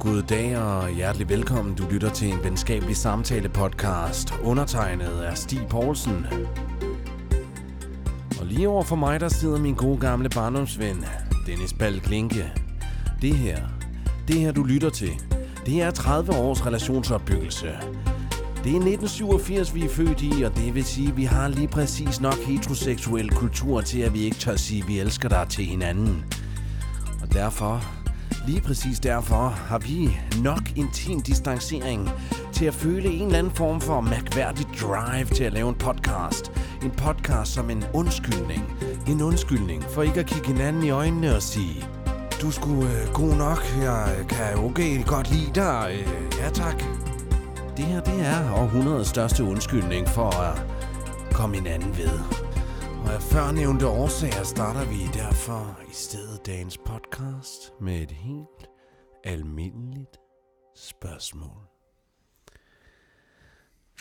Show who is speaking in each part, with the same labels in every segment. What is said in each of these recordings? Speaker 1: God dag og hjertelig velkommen. Du lytter til en venskabelig samtale podcast. Undertegnet er Stig Poulsen. Og lige over for mig, der sidder min gode gamle barndomsven, Dennis Balklinke. Det her, det her du lytter til, det er 30 års relationsopbyggelse. Det er 1987, vi er født i, og det vil sige, at vi har lige præcis nok heteroseksuel kultur til, at vi ikke tør sige, at vi elsker dig til hinanden. Og derfor, lige præcis derfor, har vi nok intim distancering til at føle en eller anden form for mærkværdig drive til at lave en podcast. En podcast som en undskyldning. En undskyldning for ikke at kigge hinanden i øjnene og sige, du skulle øh, god nok, jeg øh, kan okay godt lide dig, øh, ja tak. Det her, det er århundredets største undskyldning for at komme hinanden ved. Og af førnævnte årsager starter vi derfor i stedet dagens podcast med et helt almindeligt spørgsmål.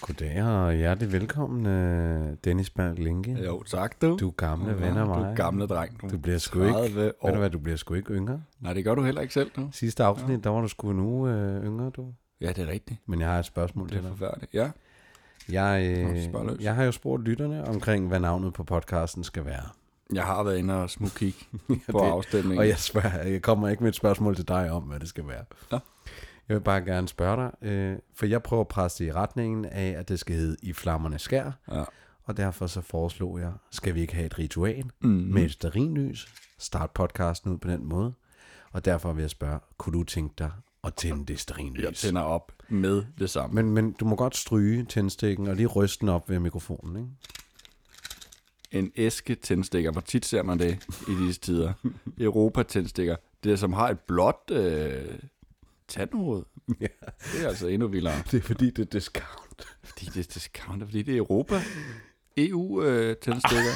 Speaker 1: Goddag og hjertelig velkommen, øh, Dennis Berg Linke.
Speaker 2: Jo, tak du.
Speaker 1: Du er gamle ven af
Speaker 2: Du
Speaker 1: mig.
Speaker 2: er gamle dreng.
Speaker 1: Du bliver sgu ikke,
Speaker 2: 30
Speaker 1: ved
Speaker 2: år.
Speaker 1: du hvad, du bliver sgu ikke yngre.
Speaker 2: Nej, det gør du heller ikke selv nu.
Speaker 1: Sidste afsnit, ja. der var du sgu en uge øh, yngre, du.
Speaker 2: Ja, det er rigtigt.
Speaker 1: Men jeg har et spørgsmål
Speaker 2: Det
Speaker 1: til
Speaker 2: er
Speaker 1: dig.
Speaker 2: forfærdeligt. Ja,
Speaker 1: Jeg,
Speaker 2: Nå, spørg løs.
Speaker 1: øh, jeg har jo spurgt lytterne omkring, hvad navnet på podcasten skal være.
Speaker 2: jeg har været inde og smugkig på
Speaker 1: det-
Speaker 2: afstemningen.
Speaker 1: Og jeg, spørger, jeg kommer ikke med et spørgsmål til dig om, hvad det skal være.
Speaker 2: Nå.
Speaker 1: Jeg vil bare gerne spørge dig, øh, for jeg prøver at presse det i retningen af, at det skal hedde I flammerne skær,
Speaker 2: Ja.
Speaker 1: og derfor så foreslog jeg, skal vi ikke have et ritual mm.
Speaker 2: Mm.
Speaker 1: med et sterinlys? Start podcasten ud på den måde. Og derfor vil jeg spørge, kunne du tænke dig at tænde det sterinlys?
Speaker 2: Jeg tænder op med det samme.
Speaker 1: Men, men du må godt stryge tændstikken og lige ryste den op ved mikrofonen, ikke?
Speaker 2: En æske tændstikker. Hvor tit ser man det i disse tider? Europa tændstikker. Det er, som har et blåt øh, tandhoved.
Speaker 1: Ja.
Speaker 2: Det er altså endnu vildere.
Speaker 1: Det er fordi, det er discount.
Speaker 2: Fordi det er discounter, fordi det er Europa. EU øh, tændstikker.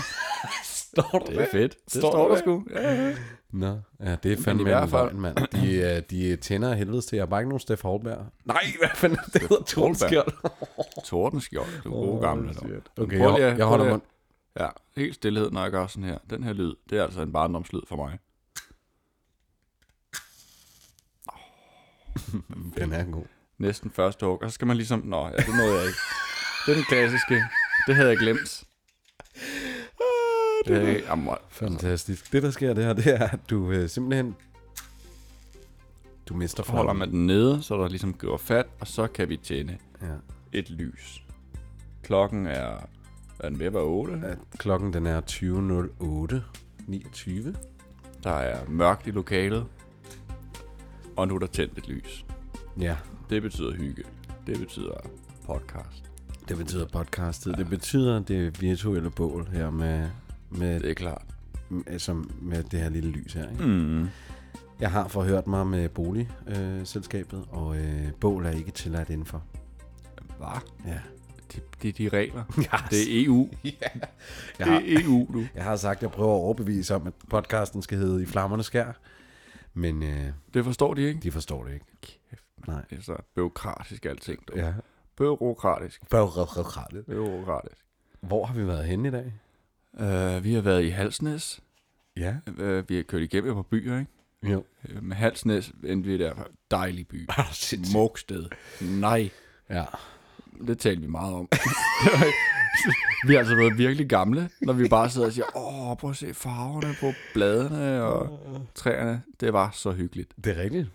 Speaker 1: Står
Speaker 2: Det er fedt. Det står,
Speaker 1: Står
Speaker 2: står der
Speaker 1: det?
Speaker 2: sgu. Ja, ja.
Speaker 1: Nå, ja, det er fandme
Speaker 2: i hvert
Speaker 1: en
Speaker 2: fald-
Speaker 1: løgn, mand. De, øh, de tænder af helvedes til. Jeg har bare ikke nogen Steff Holberg. Nej, hvad fanden er det? hedder Tordenskjold.
Speaker 2: Tordenskjold, du gode gamle. dog.
Speaker 1: Okay,
Speaker 2: Prøv lige
Speaker 1: jeg, jeg
Speaker 2: at- prøv
Speaker 1: holder
Speaker 2: lige at-
Speaker 1: mund.
Speaker 2: Ja, helt stillhed, når jeg gør sådan her. Den her lyd, det er altså en barndomslyd for mig.
Speaker 1: Den er god.
Speaker 2: Næsten første hug, og så skal man ligesom... Nå, ja, det nåede jeg ikke. Det er den klassiske. Det havde jeg glemt.
Speaker 1: Ah,
Speaker 2: Det havde jeg ikke. Jamen, hvor-
Speaker 1: Fantastisk. Det, der sker der, det er, at du øh, simpelthen... Du mister
Speaker 2: så holder
Speaker 1: forholdet.
Speaker 2: man den nede, så der ligesom går fat, og så kan vi tænde
Speaker 1: Ja.
Speaker 2: et lys. Klokken er... Er den ved at være 8?
Speaker 1: At klokken, den er 20.08. 29.
Speaker 2: Der er mørkt i lokalet. Og nu er der tændt et lys.
Speaker 1: Ja,
Speaker 2: Det betyder hygge. Det betyder podcast.
Speaker 1: det betyder podcastet. Det betyder det virtuelle bål her med, med,
Speaker 2: Det er klart.
Speaker 1: med, som, med det her lille lys her, ikke?
Speaker 2: Mm.
Speaker 1: Jeg har forhørt mig med boligselskabet, øh, selskabet, og øh, bål er ikke tilladt indenfor.
Speaker 2: Hvad?
Speaker 1: Ja.
Speaker 2: Det, det er de regler.
Speaker 1: Yes.
Speaker 2: Det er EU.
Speaker 1: jeg,
Speaker 2: Det
Speaker 1: har,
Speaker 2: er E EU, du.
Speaker 1: jeg har sagt, at jeg prøver at overbevise om, at podcasten skal hedde I flammerne skær, men øh,
Speaker 2: Det forstår de ikke.
Speaker 1: de forstår det ikke.
Speaker 2: Kæft, man.
Speaker 1: Nej.
Speaker 2: Det er så byråkratisk alting. Du.
Speaker 1: Ja.
Speaker 2: Byråkratisk.
Speaker 1: Børgerødrødrødrød.
Speaker 2: Byråkratisk.
Speaker 1: Hvor har vi været henne i dag?
Speaker 2: Uh, vi har været i Halsnæs.
Speaker 1: Ja.
Speaker 2: Uh, vi har kørt igennem et par byer, ikke?
Speaker 1: Jo.
Speaker 2: Øh, Med Halsnæs endte vi der. Dejlig by.
Speaker 1: Sindssygt.
Speaker 2: Mugsted. Nej.
Speaker 1: Ja.
Speaker 2: Det talte vi meget om. vi er altså blevet virkelig gamle, når vi bare sidder og siger, åh, prøv at se farverne på bladene og træerne. Det var så hyggeligt.
Speaker 1: Det er rigtigt.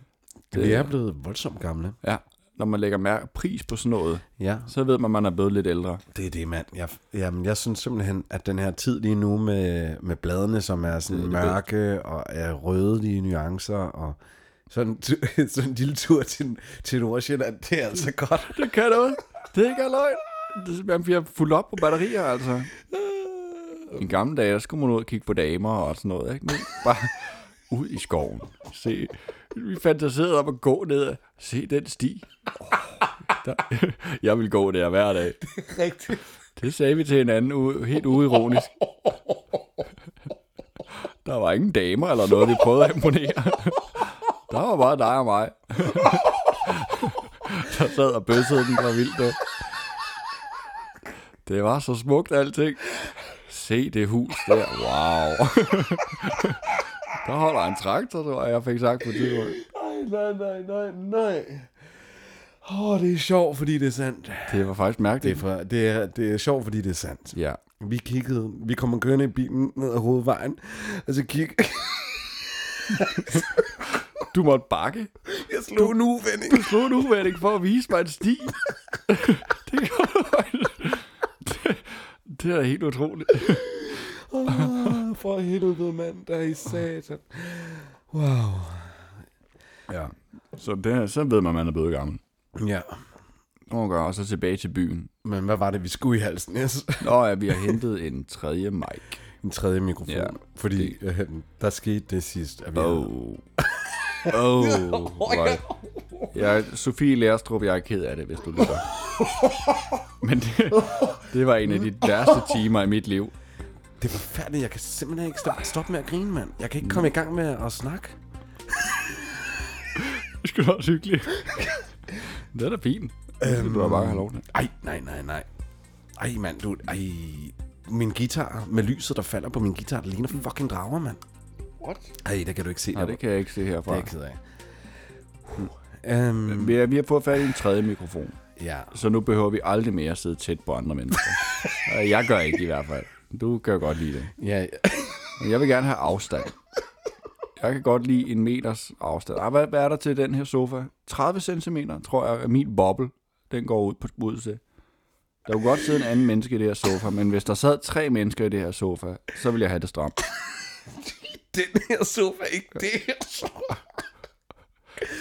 Speaker 2: Det-
Speaker 1: Vi er blevet voldsomt gamle.
Speaker 2: Ja, når man lægger mær- pris på sådan noget,
Speaker 1: Ja.
Speaker 2: så ved man, at man er blevet lidt ældre.
Speaker 1: Det er det, mand. Jeg, jamen, jeg synes simpelthen, at den her tid lige nu med, med bladene, som er sådan
Speaker 2: Det er det
Speaker 1: mørke og er røde i nuancer, og sådan, t- sådan en lille tur til, til Nordsjælland, det er altså godt.
Speaker 2: Det kan noget. Det er ikke løgn. Det er simpelthen, vi har fuldt op på batterier, altså. I gamle dage, der skulle man ud og kigge på damer og sådan noget, ikke? Nu bare ud i skoven. Se, vi fantaserede om at gå ned og se den sti. Oh, der, jeg vil gå der hver dag.
Speaker 1: Rigtigt.
Speaker 2: Det sagde vi til hinanden, u- helt uironisk. Der var ingen damer eller noget, vi prøvede at imponere. Der var bare dig og mig. Der sad og bøssede den fra vildt. du. Det var så smukt alting. Se det hus der. Wow. Der holder en traktor, tror jeg, jeg fik sagt på tidspunkt.
Speaker 1: Ej, nej, nej, nej, nej. Åh, oh, det er sjovt, fordi det er sandt.
Speaker 2: Det var faktisk
Speaker 1: Det er,
Speaker 2: mærkeligt.
Speaker 1: fra, det, er, det er sjovt, fordi det er sandt.
Speaker 2: Ja.
Speaker 1: Vi kiggede, vi kommer kørende i bilen ned ad hovedvejen, og så kig,
Speaker 2: Du måtte bakke.
Speaker 1: jeg slog en uvending.
Speaker 2: Du slog en uvending for at vise mig en sti. det, gør du aldrig. det, det er da helt utroligt.
Speaker 1: Oh, for helvede, mand, der er i satan. Wow.
Speaker 2: Ja. Så, det, så ved man, at man er blevet gammel.
Speaker 1: Ja,
Speaker 2: Åh, gør, og så tilbage til byen.
Speaker 1: men hvad var det, vi skulle i halsen? Yes.
Speaker 2: Nå ja, vi har hentet en tredje mic.
Speaker 1: En tredje mikrofon.
Speaker 2: Ja,
Speaker 1: Ja, fordi øh, der skete det sidst. At vi havde-
Speaker 2: Oh. Oh, right. Jeg, Sofie Lærstrup, jeg er ked af det, hvis du lytter. Men det, det var en af de værste timer i mit liv.
Speaker 1: Det er forfærdeligt. Jeg kan simpelthen ikke stoppe stop med at grine, mand. Jeg kan ikke komme i gang med at snakke.
Speaker 2: Det skulle da også hyggeligt. Det er da fint. Det skal du da bare have lov til.
Speaker 1: Ej, nej, nej, nej. Ej, mand, du... Ej. Min guitar med lyset, der falder på min guitar, det ligner fucking drager, mand. What? Ej, det kan du ikke se.
Speaker 2: Nej, det kan jeg ikke se herfra.
Speaker 1: det er jeg ked af. Huh. Øhm,
Speaker 2: Vi, er, vi har fået fat i en tredje mikrofon,
Speaker 1: ja.
Speaker 2: så nu behøver vi aldrig mere at sidde tæt på andre mennesker. Øh, Jeg gør ikke i hvert fald. Du gør godt lide det.
Speaker 1: ja.
Speaker 2: Men jeg vil gerne have afstand. Jeg kan godt lide en meters afstand. Ej, hvad, hvad er der til den her sofa? 30 cm, tror jeg, er min boble. Den går ud på ud til. Der kunne godt sidde en anden menneske i det her sofa, men hvis der sad tre mennesker i det her sofa, så ville jeg have det stramt.
Speaker 1: Den her sofa, ikke det her sofa.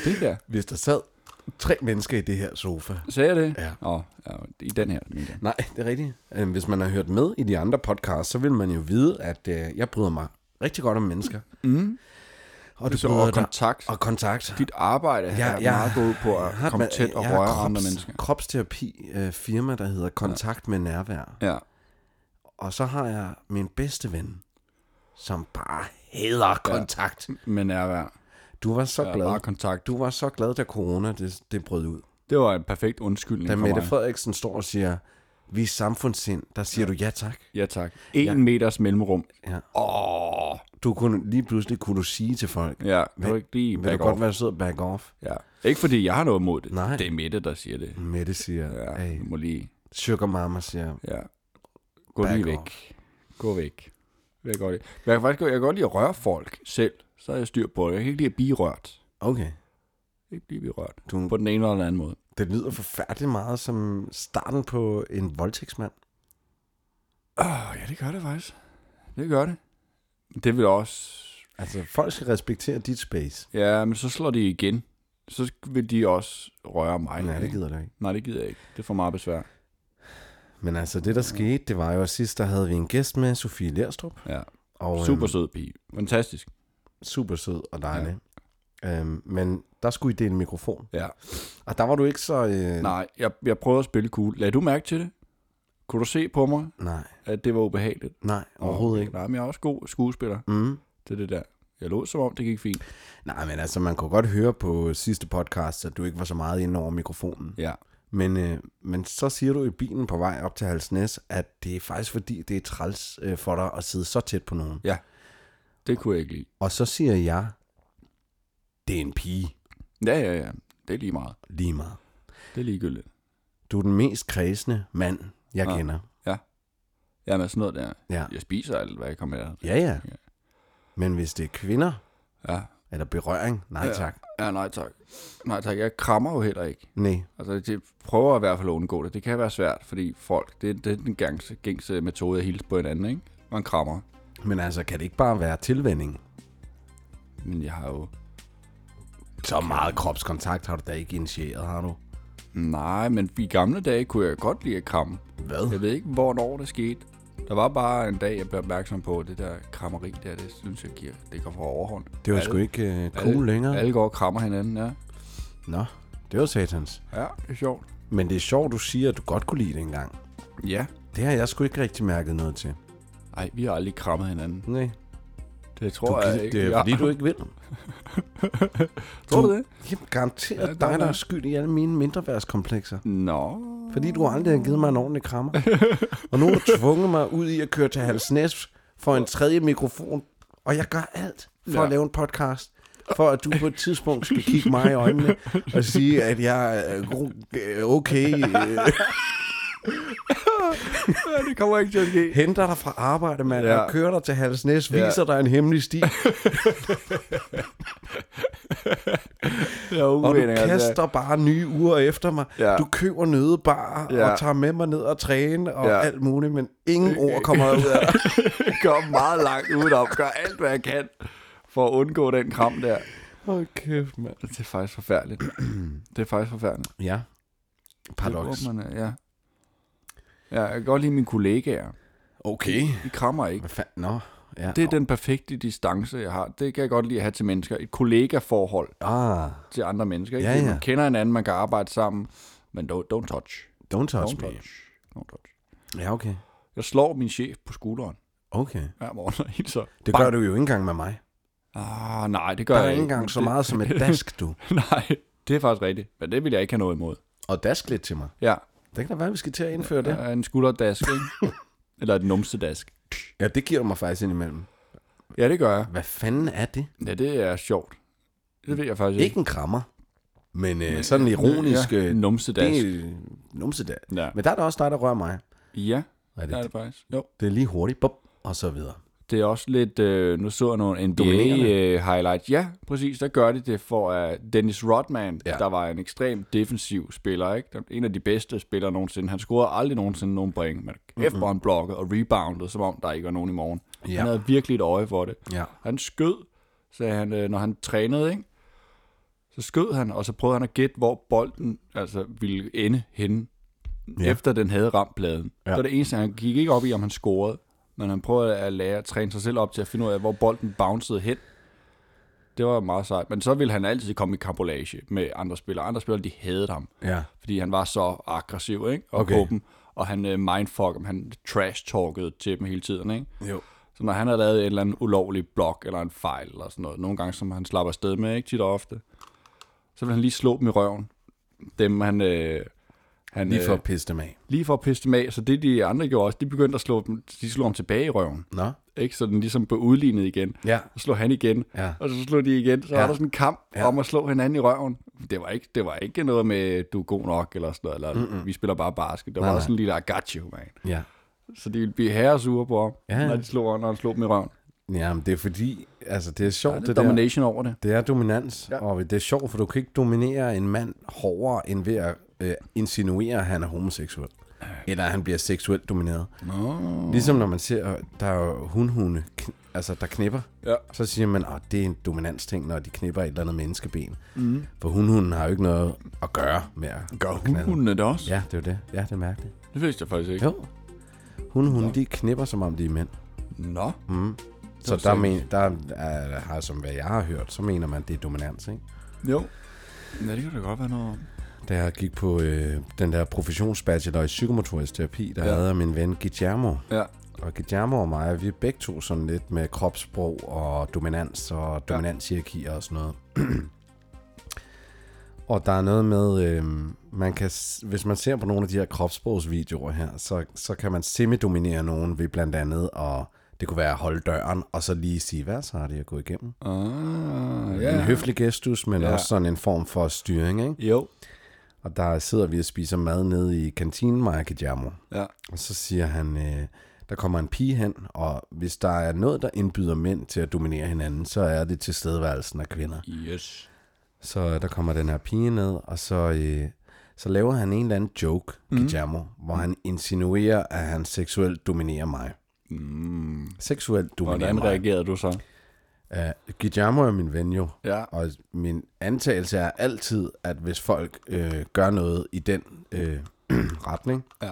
Speaker 2: Det der.
Speaker 1: Hvis der sad tre mennesker i det her sofa,
Speaker 2: Sagde jeg det?
Speaker 1: Ja.
Speaker 2: Nå, ja, i den her, mener jeg.
Speaker 1: Nej, det er rigtigt. Øhm, Hvis man har hørt med i de andre podcasts, så vil man jo vide, at øh, jeg bryder mig rigtig godt om mennesker. Mm. Og du
Speaker 2: Så,
Speaker 1: bryder
Speaker 2: og
Speaker 1: dig-
Speaker 2: kontakt.
Speaker 1: Og kontakt.
Speaker 2: Dit arbejde ja, er meget gået ud på at
Speaker 1: jeg har et
Speaker 2: komme
Speaker 1: ma-
Speaker 2: tæt og
Speaker 1: jeg har
Speaker 2: røre
Speaker 1: krops-
Speaker 2: andre mennesker.
Speaker 1: kropsterapi øh, firma, der hedder Kontakt ja. med Nærvær.
Speaker 2: Ja.
Speaker 1: Og så har jeg min bedste ven, som bare hader kontakt. Ja.
Speaker 2: Men nærvær.
Speaker 1: Du var så ja, glad.
Speaker 2: Bare kontakt.
Speaker 1: Du var så glad, da corona det, det brød ud.
Speaker 2: Det var en perfekt undskyldning
Speaker 1: Da
Speaker 2: for
Speaker 1: Mette
Speaker 2: mig.
Speaker 1: Frederiksen står og siger, vi er samfundssind, der siger ja. du ja tak.
Speaker 2: Ja tak. En ja. meters mellemrum.
Speaker 1: Ja.
Speaker 2: Åh,
Speaker 1: Du kunne lige pludselig kunne du sige til folk,
Speaker 2: ja. Vil du ikke lige
Speaker 1: vil du
Speaker 2: back
Speaker 1: godt
Speaker 2: off?
Speaker 1: være sød og back off?
Speaker 2: Ja. Ikke fordi jeg har noget imod det.
Speaker 1: Nej.
Speaker 2: Det er Mette, der siger det.
Speaker 1: Mette siger, ja.
Speaker 2: Ja,
Speaker 1: hey,
Speaker 2: du må lige...
Speaker 1: sugar mama siger,
Speaker 2: Ja. Gå
Speaker 1: Back
Speaker 2: lige væk. Gå væk. Jeg kan, godt lide. jeg kan faktisk godt- jeg kan godt lide at røre folk selv. Så er jeg styr på det. Jeg kan ikke lide at blive rørt.
Speaker 1: okay.
Speaker 2: Ikke blive berørt.
Speaker 1: Du-
Speaker 2: På den ene eller den anden måde.
Speaker 1: Det lyder forfærdeligt meget som starten på en voldtægtsmand.
Speaker 2: Åh, ja, det gør det faktisk. Det gør det. Det vil også...
Speaker 1: Altså, folk skal respektere dit space.
Speaker 2: Ja, men så slår de igen. Så vil de også røre mig.
Speaker 1: Nej, det
Speaker 2: ikke?
Speaker 1: gider du ikke.
Speaker 2: Nej, det gider jeg ikke. Det er for meget besvær.
Speaker 1: Men altså, det der skete, det var jo, at sidst der havde vi en gæst med, Sofie Lerstrup.
Speaker 2: Ja.
Speaker 1: Og,
Speaker 2: Super
Speaker 1: Øhm,
Speaker 2: sød pige. Fantastisk.
Speaker 1: super sød og dejlig. Ja. Øhm, men der skulle I dele mikrofon.
Speaker 2: Ja.
Speaker 1: Og der var du ikke så... Øh...
Speaker 2: Nej, jeg, jeg prøvede at spille cool. Lad du mærke til det? Kunne du se på mig,
Speaker 1: Nej,
Speaker 2: at det var ubehageligt?
Speaker 1: nej, overhovedet ikke.
Speaker 2: Nej, men jeg er også god skuespiller
Speaker 1: Mm.
Speaker 2: til det der. Jeg lå som om, det gik fint.
Speaker 1: Nej, men altså, man kunne godt høre på sidste podcast, at du ikke var så meget inde over mikrofonen.
Speaker 2: Ja.
Speaker 1: Men, øh, men så siger du i bilen på vej op til Halsnæs, at det er faktisk fordi, det er træls øh, for dig at sidde så tæt på nogen.
Speaker 2: Ja. Det kunne jeg ikke lide.
Speaker 1: Og så siger jeg, det er en pige
Speaker 2: Ja, ja, ja. Det er lige meget.
Speaker 1: lige meget.
Speaker 2: Det er ligegyldigt.
Speaker 1: Du er den mest kredsende mand, jeg
Speaker 2: Ja.
Speaker 1: ja. kender.
Speaker 2: Jamen, sådan noget der.
Speaker 1: Ah. Ja.
Speaker 2: Jeg spiser alt, hvad jeg kommer af.
Speaker 1: ja, ja. Men hvis det er kvinder,
Speaker 2: Ja.
Speaker 1: eller berøring, nej
Speaker 2: Ja.
Speaker 1: ja. tak.
Speaker 2: Ja, nej tak. Nej tak. Jeg krammer jo heller ikke.
Speaker 1: Nej,
Speaker 2: Altså, det prøver jeg i hvert fald at undgå det. Det kan være svært, fordi folk, det, det er den gængse, gængse metode at hilse på hinanden, ikke? Man krammer.
Speaker 1: men altså, kan det ikke bare være tilvænding?
Speaker 2: Men jeg har jo...
Speaker 1: Så meget kropskontakt har du da ikke initieret, har du?
Speaker 2: Nej, men i gamle dage kunne jeg godt lide at kramme.
Speaker 1: Hvad?
Speaker 2: Jeg ved ikke, hvornår det skete. Der var bare en dag, jeg blev opmærksom på, at det der krammeri der, det synes jeg giver, det går for overhånd.
Speaker 1: Det var
Speaker 2: Alle-
Speaker 1: sgu ikke øh, cool længere.
Speaker 2: Alle går og krammer hinanden, ja.
Speaker 1: Nå, det var satans.
Speaker 2: Ja, det er sjovt.
Speaker 1: Men det er sjovt, du siger, at du godt kunne lide det engang.
Speaker 2: Ja.
Speaker 1: Det har jeg sgu ikke rigtig mærket noget til.
Speaker 2: Nej, vi har aldrig krammet hinanden.
Speaker 1: Nej.
Speaker 2: Det tror
Speaker 1: Du,
Speaker 2: jeg
Speaker 1: kan,
Speaker 2: ikke.
Speaker 1: det er
Speaker 2: ja.
Speaker 1: fordi, du ikke vil.
Speaker 2: Tror du det?
Speaker 1: Jamen, garanteret
Speaker 2: Ja,
Speaker 1: ja,
Speaker 2: godt
Speaker 1: dig, der
Speaker 2: nok.
Speaker 1: er skyld i alle mine mindreværdskomplekser.
Speaker 2: Nå.
Speaker 1: Fordi du aldrig har givet mig en ordentlig krammer. og nu har du tvunget mig ud i at køre til Halsnæs for en tredje mikrofon. Og jeg gør alt for
Speaker 2: Ja.
Speaker 1: ja. at lave en podcast. for at du på et tidspunkt skal kigge mig i øjnene og sige, at jeg er gro- okay, øh,
Speaker 2: det kommer ikke til at ske.
Speaker 1: henter dig fra arbejde, mand,
Speaker 2: Ja.
Speaker 1: ja. og kører dig til Halsnæs,
Speaker 2: Ja.
Speaker 1: viser dig en hemmelig sti,
Speaker 2: Jeg er
Speaker 1: og du
Speaker 2: uvenner,
Speaker 1: kaster bare nye uger efter mig.
Speaker 2: Ja.
Speaker 1: Du køber nødebar
Speaker 2: Ja.
Speaker 1: og tager med mig ned og træne og
Speaker 2: Ja.
Speaker 1: alt muligt, men ingen ord kommer ud af dig.
Speaker 2: Jeg kommer meget langt udenom. Gør alt, hvad jeg kan for at undgå den kram der. Altså,
Speaker 1: Hold kæft, mand.
Speaker 2: Det er faktisk forfærdeligt. Det er faktisk forfærdeligt.
Speaker 1: Ja. Paradox.
Speaker 2: Det burde man, øh, ja. ja. Jeg kan godt lide mine kollegaer.
Speaker 1: Okay.
Speaker 2: De krammer ikke.
Speaker 1: Hvad fanden? Nå. Ja.
Speaker 2: Det er den perfekte distance, jeg har. Det kan jeg godt lide at have til mennesker. Et kollegaforhold
Speaker 1: Ah,
Speaker 2: til andre mennesker. Ikke?
Speaker 1: Ja,
Speaker 2: Fordi
Speaker 1: ja.
Speaker 2: Man kender hinanden, man kan arbejde sammen. Men don't, don't touch.
Speaker 1: don't touch
Speaker 2: Don't
Speaker 1: me.
Speaker 2: touch. Don't touch.
Speaker 1: Ja, okay.
Speaker 2: Jeg slår min chef på skulderen
Speaker 1: Okay.
Speaker 2: hver morgen og hilser.
Speaker 1: Det
Speaker 2: Bang.
Speaker 1: gør du jo ikke engang med mig.
Speaker 2: Ah, nej, det gør
Speaker 1: Der er
Speaker 2: jeg
Speaker 1: ikke
Speaker 2: ikke.
Speaker 1: engang så
Speaker 2: Det-
Speaker 1: meget som et dask, du.
Speaker 2: Nej, det er faktisk rigtigt. Men det vil jeg ikke have noget imod.
Speaker 1: Og dask lidt til mig.
Speaker 2: Ja,
Speaker 1: Det kan da være, at vi skal til at indføre
Speaker 2: det
Speaker 1: det.
Speaker 2: er en skulderdask, ikke? Eller et numsedask.
Speaker 1: Ja, det giver du mig faktisk indimellem.
Speaker 2: Ja, det gør jeg.
Speaker 1: Hvad fanden er det?
Speaker 2: Ja, det er sjovt. Det ved jeg faktisk ikke.
Speaker 1: Ikke en krammer, Øh. men øh, sådan en ironisk...
Speaker 2: Ja,
Speaker 1: Øh,
Speaker 2: en numsedask.
Speaker 1: det er numse der.
Speaker 2: Ja.
Speaker 1: Men der er der også dig, der rører mig. Er
Speaker 2: ja, det er
Speaker 1: det,
Speaker 2: det faktisk. Jo.
Speaker 1: det er lige hurtigt, bop, og så videre.
Speaker 2: Det er også lidt, øh, nu så jeg nogle
Speaker 1: Dominerende.
Speaker 2: NBA-highlights. øh, Ja, præcis, der gør de det for at Dennis Rodman, ja.
Speaker 1: Ja.
Speaker 2: der var en ekstrem defensiv spiller, ikke? Der- en af de bedste spillere nogensinde. Han scorede aldrig nogensinde nogen point, men kæft, hvor han blokkede og reboundede, som om der ikke var nogen i morgen. Ja.
Speaker 1: Ja.
Speaker 2: Han havde virkelig et øje for det.
Speaker 1: Ja.
Speaker 2: Han skød, sagde han, øh, når han trænede, ikke? Så skød han, og så prøvede han at gætte, hvor bolden altså, ville ende henne, ja.
Speaker 1: Ja.
Speaker 2: efter den havde ramt pladen.
Speaker 1: Ja.
Speaker 2: Ja. Det var det eneste, han gik ikke op i, om han scorede, men han prøvede at lære at træne sig selv op til at finde ud af, hvor bolden bouncede hen. Det var meget sejt. Men så ville han altid komme i kampolage med andre spillere. Andre spillere, de havde ham,
Speaker 1: Ja.
Speaker 2: fordi han var så aggressiv ikke? og okay.
Speaker 1: Okay.
Speaker 2: åben. Og han øh, mindfuck dem, han trash-talkede til dem hele tiden. Ikke?
Speaker 1: Jo.
Speaker 2: Så når han har lavet en eller anden ulovlig blok eller en fejl eller sådan noget, nogle gange, som han slapper afsted med, ikke tit og ofte, så vil han lige slå dem i røven. Dem han... Øh, han
Speaker 1: Lige for
Speaker 2: øh,
Speaker 1: at pisse dem af.
Speaker 2: lige for at pisse dem af, så det de andre gjorde også, de begyndte at slå dem, de slog ham tilbage i røven,
Speaker 1: Nå?
Speaker 2: ikke? så den ligesom blev udlignet igen.
Speaker 1: Ja.
Speaker 2: Så slog han igen,
Speaker 1: Ja.
Speaker 2: og så slog de igen. Så ja.
Speaker 1: Ja.
Speaker 2: var der sådan en kamp ja.
Speaker 1: Ja.
Speaker 2: om at slå hinanden i røven. Det var ikke, det var ikke noget med, du er god nok, eller sådan noget, eller Mm-mm. vi spiller bare basket. Der var
Speaker 1: Nej,
Speaker 2: også
Speaker 1: nej.
Speaker 2: sådan en lille, I got you, man.
Speaker 1: Ja.
Speaker 2: Så de ville blive herresure på ham, ja.
Speaker 1: Ja.
Speaker 2: når de slog, når han slog dem i røven.
Speaker 1: Jamen, det er fordi, altså det er
Speaker 2: Der er
Speaker 1: sjovt,
Speaker 2: lidt
Speaker 1: det der.
Speaker 2: domination over det.
Speaker 1: Det er dominans,
Speaker 2: Ja.
Speaker 1: ja. og det er sjovt, for du kan ikke dominere en mand hårdere, end ved at øh, insinuere, at han er homoseksuel. Eller at han bliver seksuelt domineret.
Speaker 2: Nå.
Speaker 1: Ligesom når man ser, øh, der er jo hundhunde, kn- altså der knipper.
Speaker 2: Ja.
Speaker 1: Så siger man, at det er en dominansting, når de knipper et eller andet menneskeben. Mm. For hundhunden har jo ikke noget at gøre med at
Speaker 2: Gør
Speaker 1: at knalde.
Speaker 2: hundhundene det også?
Speaker 1: Ja, det er jo det. Ja, det er mærkeligt.
Speaker 2: Det vidste jeg faktisk ikke.
Speaker 1: Jo. Hundhunde, de knipper, som om de er mænd.
Speaker 2: Nå.
Speaker 1: Så
Speaker 2: var
Speaker 1: der,
Speaker 2: sindssygt.
Speaker 1: men, der er, har, som hvad jeg har hørt, så mener man, at det er dominans, ikke?
Speaker 2: Jo. Ja, det kan da godt være noget om.
Speaker 1: Da jeg gik på øh, den der professionsbachelor i psykomotorisk terapi, der
Speaker 2: Ja.
Speaker 1: ja. havde jeg min ven Guillermo.
Speaker 2: Ja.
Speaker 1: Og Guillermo og mig, vi er begge to sådan lidt med kropssprog og dominans og dominanshierarkier og sådan noget. og der er noget med, øh, man kan, s- hvis man ser på nogle af de her kropssprogsvideoer her, så, så kan man semidominere nogen ved blandt andet at det kunne være at holde døren, og så lige sige, hvad så har det at gå igennem?
Speaker 2: Ah,
Speaker 1: Ja. En høflig gestus, men
Speaker 2: Ja.
Speaker 1: ja. også sådan en form for styring, ikke?
Speaker 2: Jo.
Speaker 1: Og der sidder vi og spiser mad nede i kantinen, mig og Guillermo.
Speaker 2: Ja.
Speaker 1: Og så siger han, øh, der kommer en pige hen, og hvis der er noget, der indbyder mænd til at dominere hinanden, så er det tilstedeværelsen af kvinder.
Speaker 2: Yes.
Speaker 1: Så øh, der kommer den her pige ned, og så, øh, så laver han en eller anden joke, mm. Guillermo, hvor han insinuerer, at han seksuelt dominerer mig.
Speaker 2: Mm.
Speaker 1: Seksuelt dominerer
Speaker 2: Hvordan
Speaker 1: mig.
Speaker 2: reagerede du så?
Speaker 1: Uh, Guillermo er min ven jo.
Speaker 2: Ja.
Speaker 1: Og min antagelse er altid, at hvis folk øh, gør noget i den øh, retning,
Speaker 2: Ja.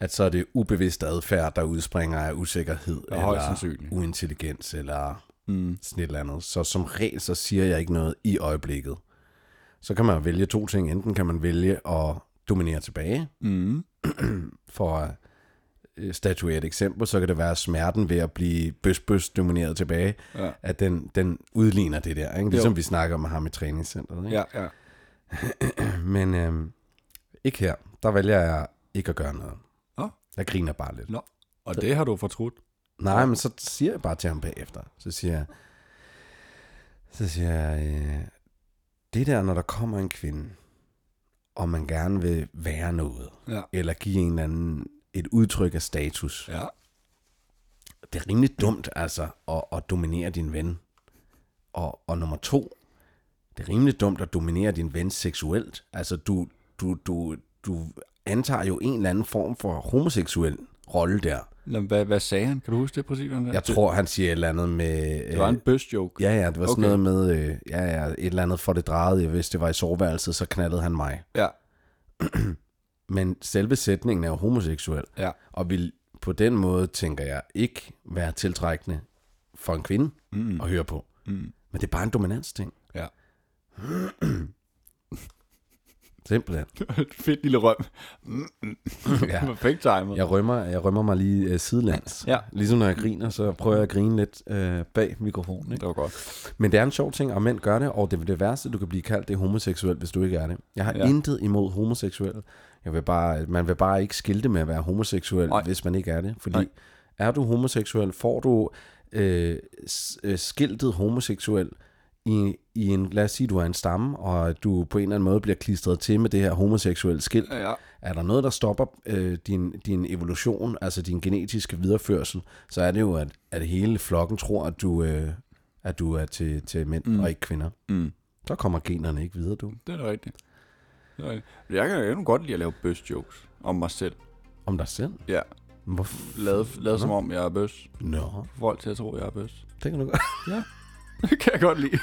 Speaker 1: at så er det ubevidst adfærd, der udspringer af usikkerhed,
Speaker 2: Ja, højst sandsynligt.
Speaker 1: uintelligens, eller
Speaker 2: Mm.
Speaker 1: sådan et eller andet. Så som regel, så siger jeg ikke noget i øjeblikket. Så kan man vælge to ting. Enten kan man vælge at dominere tilbage,
Speaker 2: Mm.
Speaker 1: for at øh, statuere et eksempel, så kan det være at smerten ved at blive bøs-bøs domineret tilbage,
Speaker 2: Ja.
Speaker 1: at den, den udligner det der, ikke? ligesom vi snakker om med ham i træningscenteret. Ikke?
Speaker 2: Ja, ja.
Speaker 1: Men øh, ikke her. Der vælger jeg ikke at gøre noget.
Speaker 2: Nå.
Speaker 1: Jeg griner bare lidt.
Speaker 2: Nå. Og det har du fortrudt.
Speaker 1: Nej, men så siger jeg bare til ham bagefter. Så siger jeg, Så siger jeg, øh, det der, når der kommer en kvinde, og man gerne vil være noget,
Speaker 2: Ja.
Speaker 1: eller give en eller anden et udtryk af status,
Speaker 2: Ja.
Speaker 1: det er rimelig dumt altså at, at dominere din ven. Og, og nummer to, det er rimelig dumt at dominere din ven seksuelt. Altså du, du, du, du antager jo en eller anden form for homoseksuel rolle der.
Speaker 2: Nå, men hvad, hvad sagde han? Kan du huske det præcis? Hvad han sagde?
Speaker 1: Jeg tror, han siger et eller andet med...
Speaker 2: Det var en bøs joke.
Speaker 1: Ja, ja, det var sådan
Speaker 2: Okay.
Speaker 1: noget med, øh, ja, ja, et eller andet for det drejede. Hvis det var i soveværelset, så knaldede han mig.
Speaker 2: Ja.
Speaker 1: Men selve sætningen er jo homoseksuel,
Speaker 2: Ja.
Speaker 1: og vil på den måde, tænker jeg, ikke være tiltrækkende for en kvinde mm. at høre på.
Speaker 2: Mm.
Speaker 1: Men det er bare en dominansting.
Speaker 2: Ja.
Speaker 1: Simpelthen.
Speaker 2: Et fedt lille røm.
Speaker 1: Ja.
Speaker 2: Perfekt timet.
Speaker 1: Jeg rømmer, jeg rømmer mig lige øh, sidelands.
Speaker 2: Ja.
Speaker 1: Ligesom når jeg griner, så prøver jeg at grine lidt øh, bag mikrofonen. Ikke?
Speaker 2: Det var godt.
Speaker 1: Men det er en sjov ting, og mænd gør det, og det, det værste, du kan blive kaldt, det er homoseksuel, hvis du ikke er det. Jeg har
Speaker 2: Ja.
Speaker 1: ja. intet imod homoseksuelle. Jeg vil bare, man vil bare ikke skilte med at være homoseksuel,
Speaker 2: Nej.
Speaker 1: Nej. hvis man ikke er det. Fordi
Speaker 2: Nej.
Speaker 1: Nej. er du homoseksuel, får du øh, s- øh, skiltet homoseksuel i, i en, lad os sige, du er en stamme, og du på en eller anden måde bliver klistret til med det her homoseksuelle skilt.
Speaker 2: Ja.
Speaker 1: Er der noget, der stopper øh, din, din evolution, altså din genetiske videreførsel, så er det jo, at, at hele flokken tror, at du, øh, at du er til, til mænd mm. og ikke kvinder.
Speaker 2: Mm.
Speaker 1: Så kommer generne ikke videre, du.
Speaker 2: Det er da rigtigt. Det er rigtigt. Jeg kan jo godt lide at lave bøs jokes om mig selv.
Speaker 1: Om dig selv?
Speaker 2: Ja.
Speaker 1: Hvorfor?
Speaker 2: Lade, lade som om, jeg er bøs.
Speaker 1: Nå,
Speaker 2: Få folk til at tro, jeg er bøs.
Speaker 1: det kan du godt.
Speaker 2: Det kan jeg godt lide.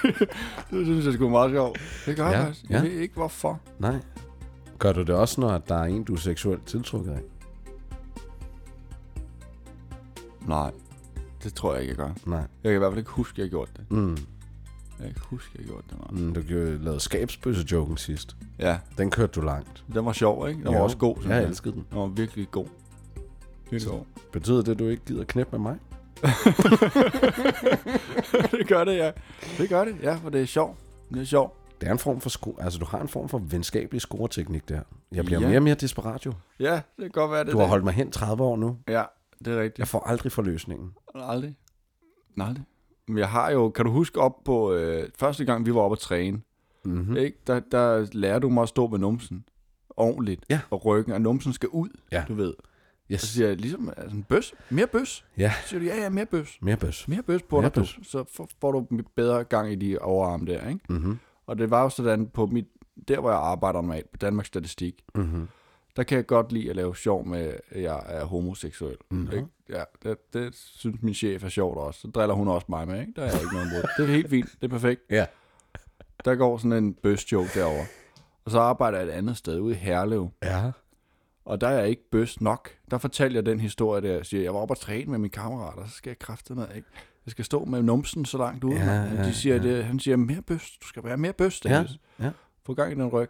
Speaker 2: det synes jeg sgu er meget sjovt. Det gør ja, jeg
Speaker 1: Ja,
Speaker 2: faktisk. Jeg
Speaker 1: ja.
Speaker 2: ved ikke, hvorfor.
Speaker 1: Nej. Gør du det også, når der er en, du er seksuelt tiltrukket af?
Speaker 2: Nej, det tror jeg ikke, jeg gør.
Speaker 1: Nej.
Speaker 2: Jeg kan i hvert fald ikke huske, at jeg gjorde det.
Speaker 1: Mm.
Speaker 2: Jeg kan ikke huske, at jeg gjorde det. Nej.
Speaker 1: Mm, du gjorde- lavede skabsbøsse-joken sidst.
Speaker 2: Ja,
Speaker 1: Den kørte du langt.
Speaker 2: den var sjov, ikke? Den var
Speaker 1: Jo.
Speaker 2: også god, synes
Speaker 1: Jeg elskede den.
Speaker 2: Den var virkelig god. Virkelig god.
Speaker 1: Betyder det, at du ikke gider knæppe med mig?
Speaker 2: det gør det, ja. Det gør det, ja, for det er sjovt. Det er sjovt.
Speaker 1: Det er en form for sko- altså, du har en form for venskabelig scoreteknik der. Jeg bliver
Speaker 2: Ja.
Speaker 1: ja. mere og mere desperat jo.
Speaker 2: Ja, det kan godt være, det er
Speaker 1: Du har
Speaker 2: det.
Speaker 1: holdt mig hen 30 år nu.
Speaker 2: Ja, det er rigtigt.
Speaker 1: Jeg får aldrig forløsningen.
Speaker 2: Aldrig. Nej, aldrig. Men jeg har jo, kan du huske op på, øh, første gang vi var oppe at træne,
Speaker 1: Mm-hmm.
Speaker 2: mm. ikke? Der, der lærer du mig at stå med numsen ordentligt,
Speaker 1: Ja.
Speaker 2: og ryggen, og numsen skal ud,
Speaker 1: Ja.
Speaker 2: du ved.
Speaker 1: Yes.
Speaker 2: Så siger jeg ligesom, altså en bøs, mere bøs.
Speaker 1: Ja.
Speaker 2: Så siger du, ja, ja, mere bøs.
Speaker 1: Mere bøs.
Speaker 2: Mere bøs på
Speaker 1: Mere
Speaker 2: dig, du.
Speaker 1: bøs.
Speaker 2: Så får- får du bedre gang i de overarme der, ikke?
Speaker 1: Mm-hmm.
Speaker 2: Og det var jo sådan på mit, der hvor jeg arbejder normalt, på Danmarks Statistik,
Speaker 1: Mm-hmm.
Speaker 2: der kan jeg godt lide at lave sjov med, at jeg er homoseksuel.
Speaker 1: Mhm.
Speaker 2: Mm-hmm. Ikke? Ja, det, det, synes min chef er sjovt også. Så driller hun også mig med, ikke? Der er jeg ikke noget imod. Det er helt fint, det er perfekt.
Speaker 1: Ja.
Speaker 2: Der går sådan en bøs joke derover. Og så arbejder jeg et andet sted ude i Herlev.
Speaker 1: Ja.
Speaker 2: Og der er jeg ikke bøs nok. Der fortæller jeg den historie der. Jeg siger, jeg var oppe og træne med min kammerat, og så skal jeg kræfte med, ikke? Jeg skal stå med numsen så langt ude.
Speaker 1: Ja,
Speaker 2: Ja,
Speaker 1: ja,
Speaker 2: de siger,
Speaker 1: ja.
Speaker 2: det, han siger, mere bøs. Du skal være mere bøs,
Speaker 1: Ja.
Speaker 2: Dennis.
Speaker 1: ja.
Speaker 2: Få gang i den ryg.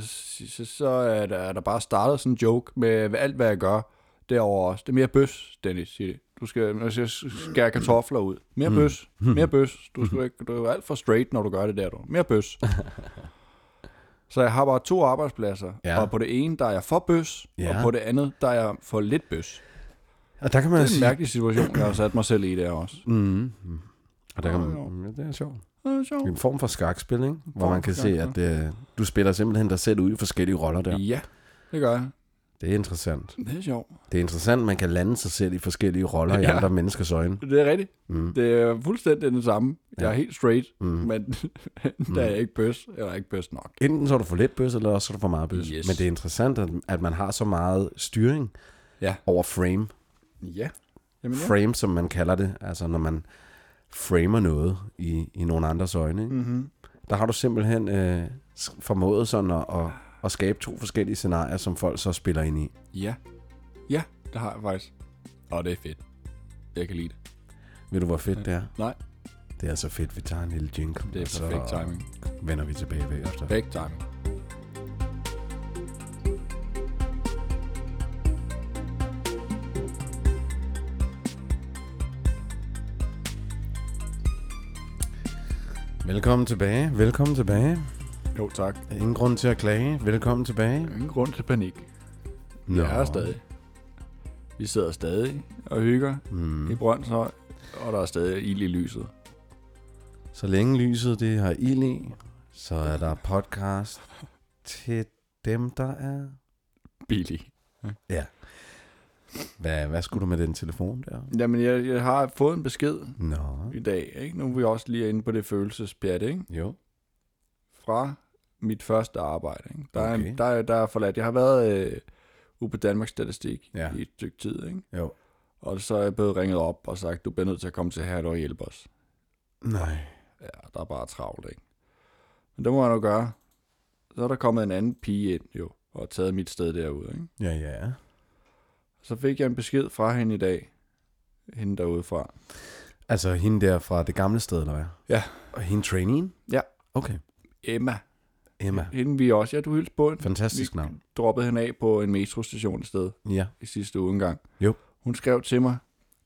Speaker 2: Så, så, så er, der, er der bare startet sådan en joke med alt, hvad jeg gør derovre også. Det er mere bøs, Dennis, siger det. Du skal, når jeg siger, skære kartofler ud. Mere bøs, mere bøs. Du, skal, ikke- du er jo alt for straight, når du gør det der, du. Mere bøs. Så jeg har bare to arbejdspladser, ja.
Speaker 1: Ja.
Speaker 2: og på det ene, der er jeg for bøs, ja.
Speaker 1: Ja.
Speaker 2: og på det andet, der er jeg for lidt bøs.
Speaker 1: Og der kan man
Speaker 2: Det er en
Speaker 1: sige...
Speaker 2: mærkelig situation, jeg har sat mig selv i der også.
Speaker 1: Mm-hmm. Og der kan
Speaker 2: Nå, jo.
Speaker 1: man... Ja, det er sjovt.
Speaker 2: Det er sjovt.
Speaker 1: Det er en form for skakspil, ikke? Hvor
Speaker 2: form
Speaker 1: man kan
Speaker 2: for
Speaker 1: se, at øh, du spiller simpelthen dig selv ud i forskellige roller der.
Speaker 2: Ja, det gør jeg.
Speaker 1: Det er interessant.
Speaker 2: Det er sjovt.
Speaker 1: Det er interessant, man kan lande sig selv i forskellige roller i
Speaker 2: Ja.
Speaker 1: andre menneskers øjne.
Speaker 2: Det er rigtigt.
Speaker 1: Mm.
Speaker 2: Det er fuldstændig det samme. Jeg er helt straight, mm. men der er jeg ikke bøs, eller ikke bøs nok.
Speaker 1: Enten så er du for lidt bøs, eller også så er du for meget bøs.
Speaker 2: Yes.
Speaker 1: Men det er interessant, at, at man har så meget styring
Speaker 2: Ja.
Speaker 1: over frame.
Speaker 2: Ja. Jamen, ja.
Speaker 1: Frame, som man kalder det. Altså, når man framer noget i, i nogle andres øjne. Ikke?
Speaker 2: Mm-hmm.
Speaker 1: Der har du simpelthen øh, s- formået sådan at, at, at skabe to forskellige scenarier, som folk så spiller ind i.
Speaker 2: Ja. Ja, det har jeg faktisk. Og det er fedt. Jeg kan lide det.
Speaker 1: Ved du, hvor fedt det er?
Speaker 2: Nej,
Speaker 1: Det er så fedt, vi tager en lille jingle,
Speaker 2: det er
Speaker 1: og Altså, så
Speaker 2: perfekt timing.
Speaker 1: vender vi tilbage bagefter.
Speaker 2: Perfekt timing.
Speaker 1: Velkommen tilbage, velkommen tilbage.
Speaker 2: Jo, tak.
Speaker 1: Ingen grund til at klage. Velkommen tilbage.
Speaker 2: Ingen grund til panik.
Speaker 1: Nå.
Speaker 2: Jeg er stadig. Vi sidder
Speaker 1: Mm.
Speaker 2: stadig og hygger mm. i Brøndshøj, og der er stadig ild i lyset.
Speaker 1: Så længe lyset det har ild i, så er der podcast til dem, der er...
Speaker 2: Billig.
Speaker 1: Hvad, hvad skulle du med den telefon der?
Speaker 2: Jamen, jeg, jeg har fået en besked
Speaker 1: Nå,
Speaker 2: i dag, ikke? Nu er vi også lige inde på det følelsespjat, ikke?
Speaker 1: jo.
Speaker 2: Fra mit første arbejde, ikke? Der, okay.
Speaker 1: Okay.
Speaker 2: er, der, er, der er forladt. Jeg har været øh, ude på Danmarks Statistik ja.
Speaker 1: Ja.
Speaker 2: i et stykke tid, ikke?
Speaker 1: Jo.
Speaker 2: Og så er jeg blevet ringet op og sagt, du bliver nødt til at komme til her og hjælpe os.
Speaker 1: Nej.
Speaker 2: Ja, der er bare travlt, ikke? Men det må jeg nu gøre. Så er der kommet en anden pige ind, jo, og taget mit sted derude, ikke?
Speaker 1: Ja, ja.
Speaker 2: Så fik jeg en besked fra hende i dag, hende derude fra.
Speaker 1: Altså hende der fra det gamle sted, eller hvad?
Speaker 2: Ja.
Speaker 1: Og hende traineen?
Speaker 2: Ja.
Speaker 1: Okay.
Speaker 2: Emma.
Speaker 1: Emma.
Speaker 2: Hende vi også, ja, du hilste på hende.
Speaker 1: Fantastisk navn.
Speaker 2: droppede hende af på en metrostation et sted
Speaker 1: Ja.
Speaker 2: i sidste uge engang.
Speaker 1: Jo.
Speaker 2: Hun skrev til mig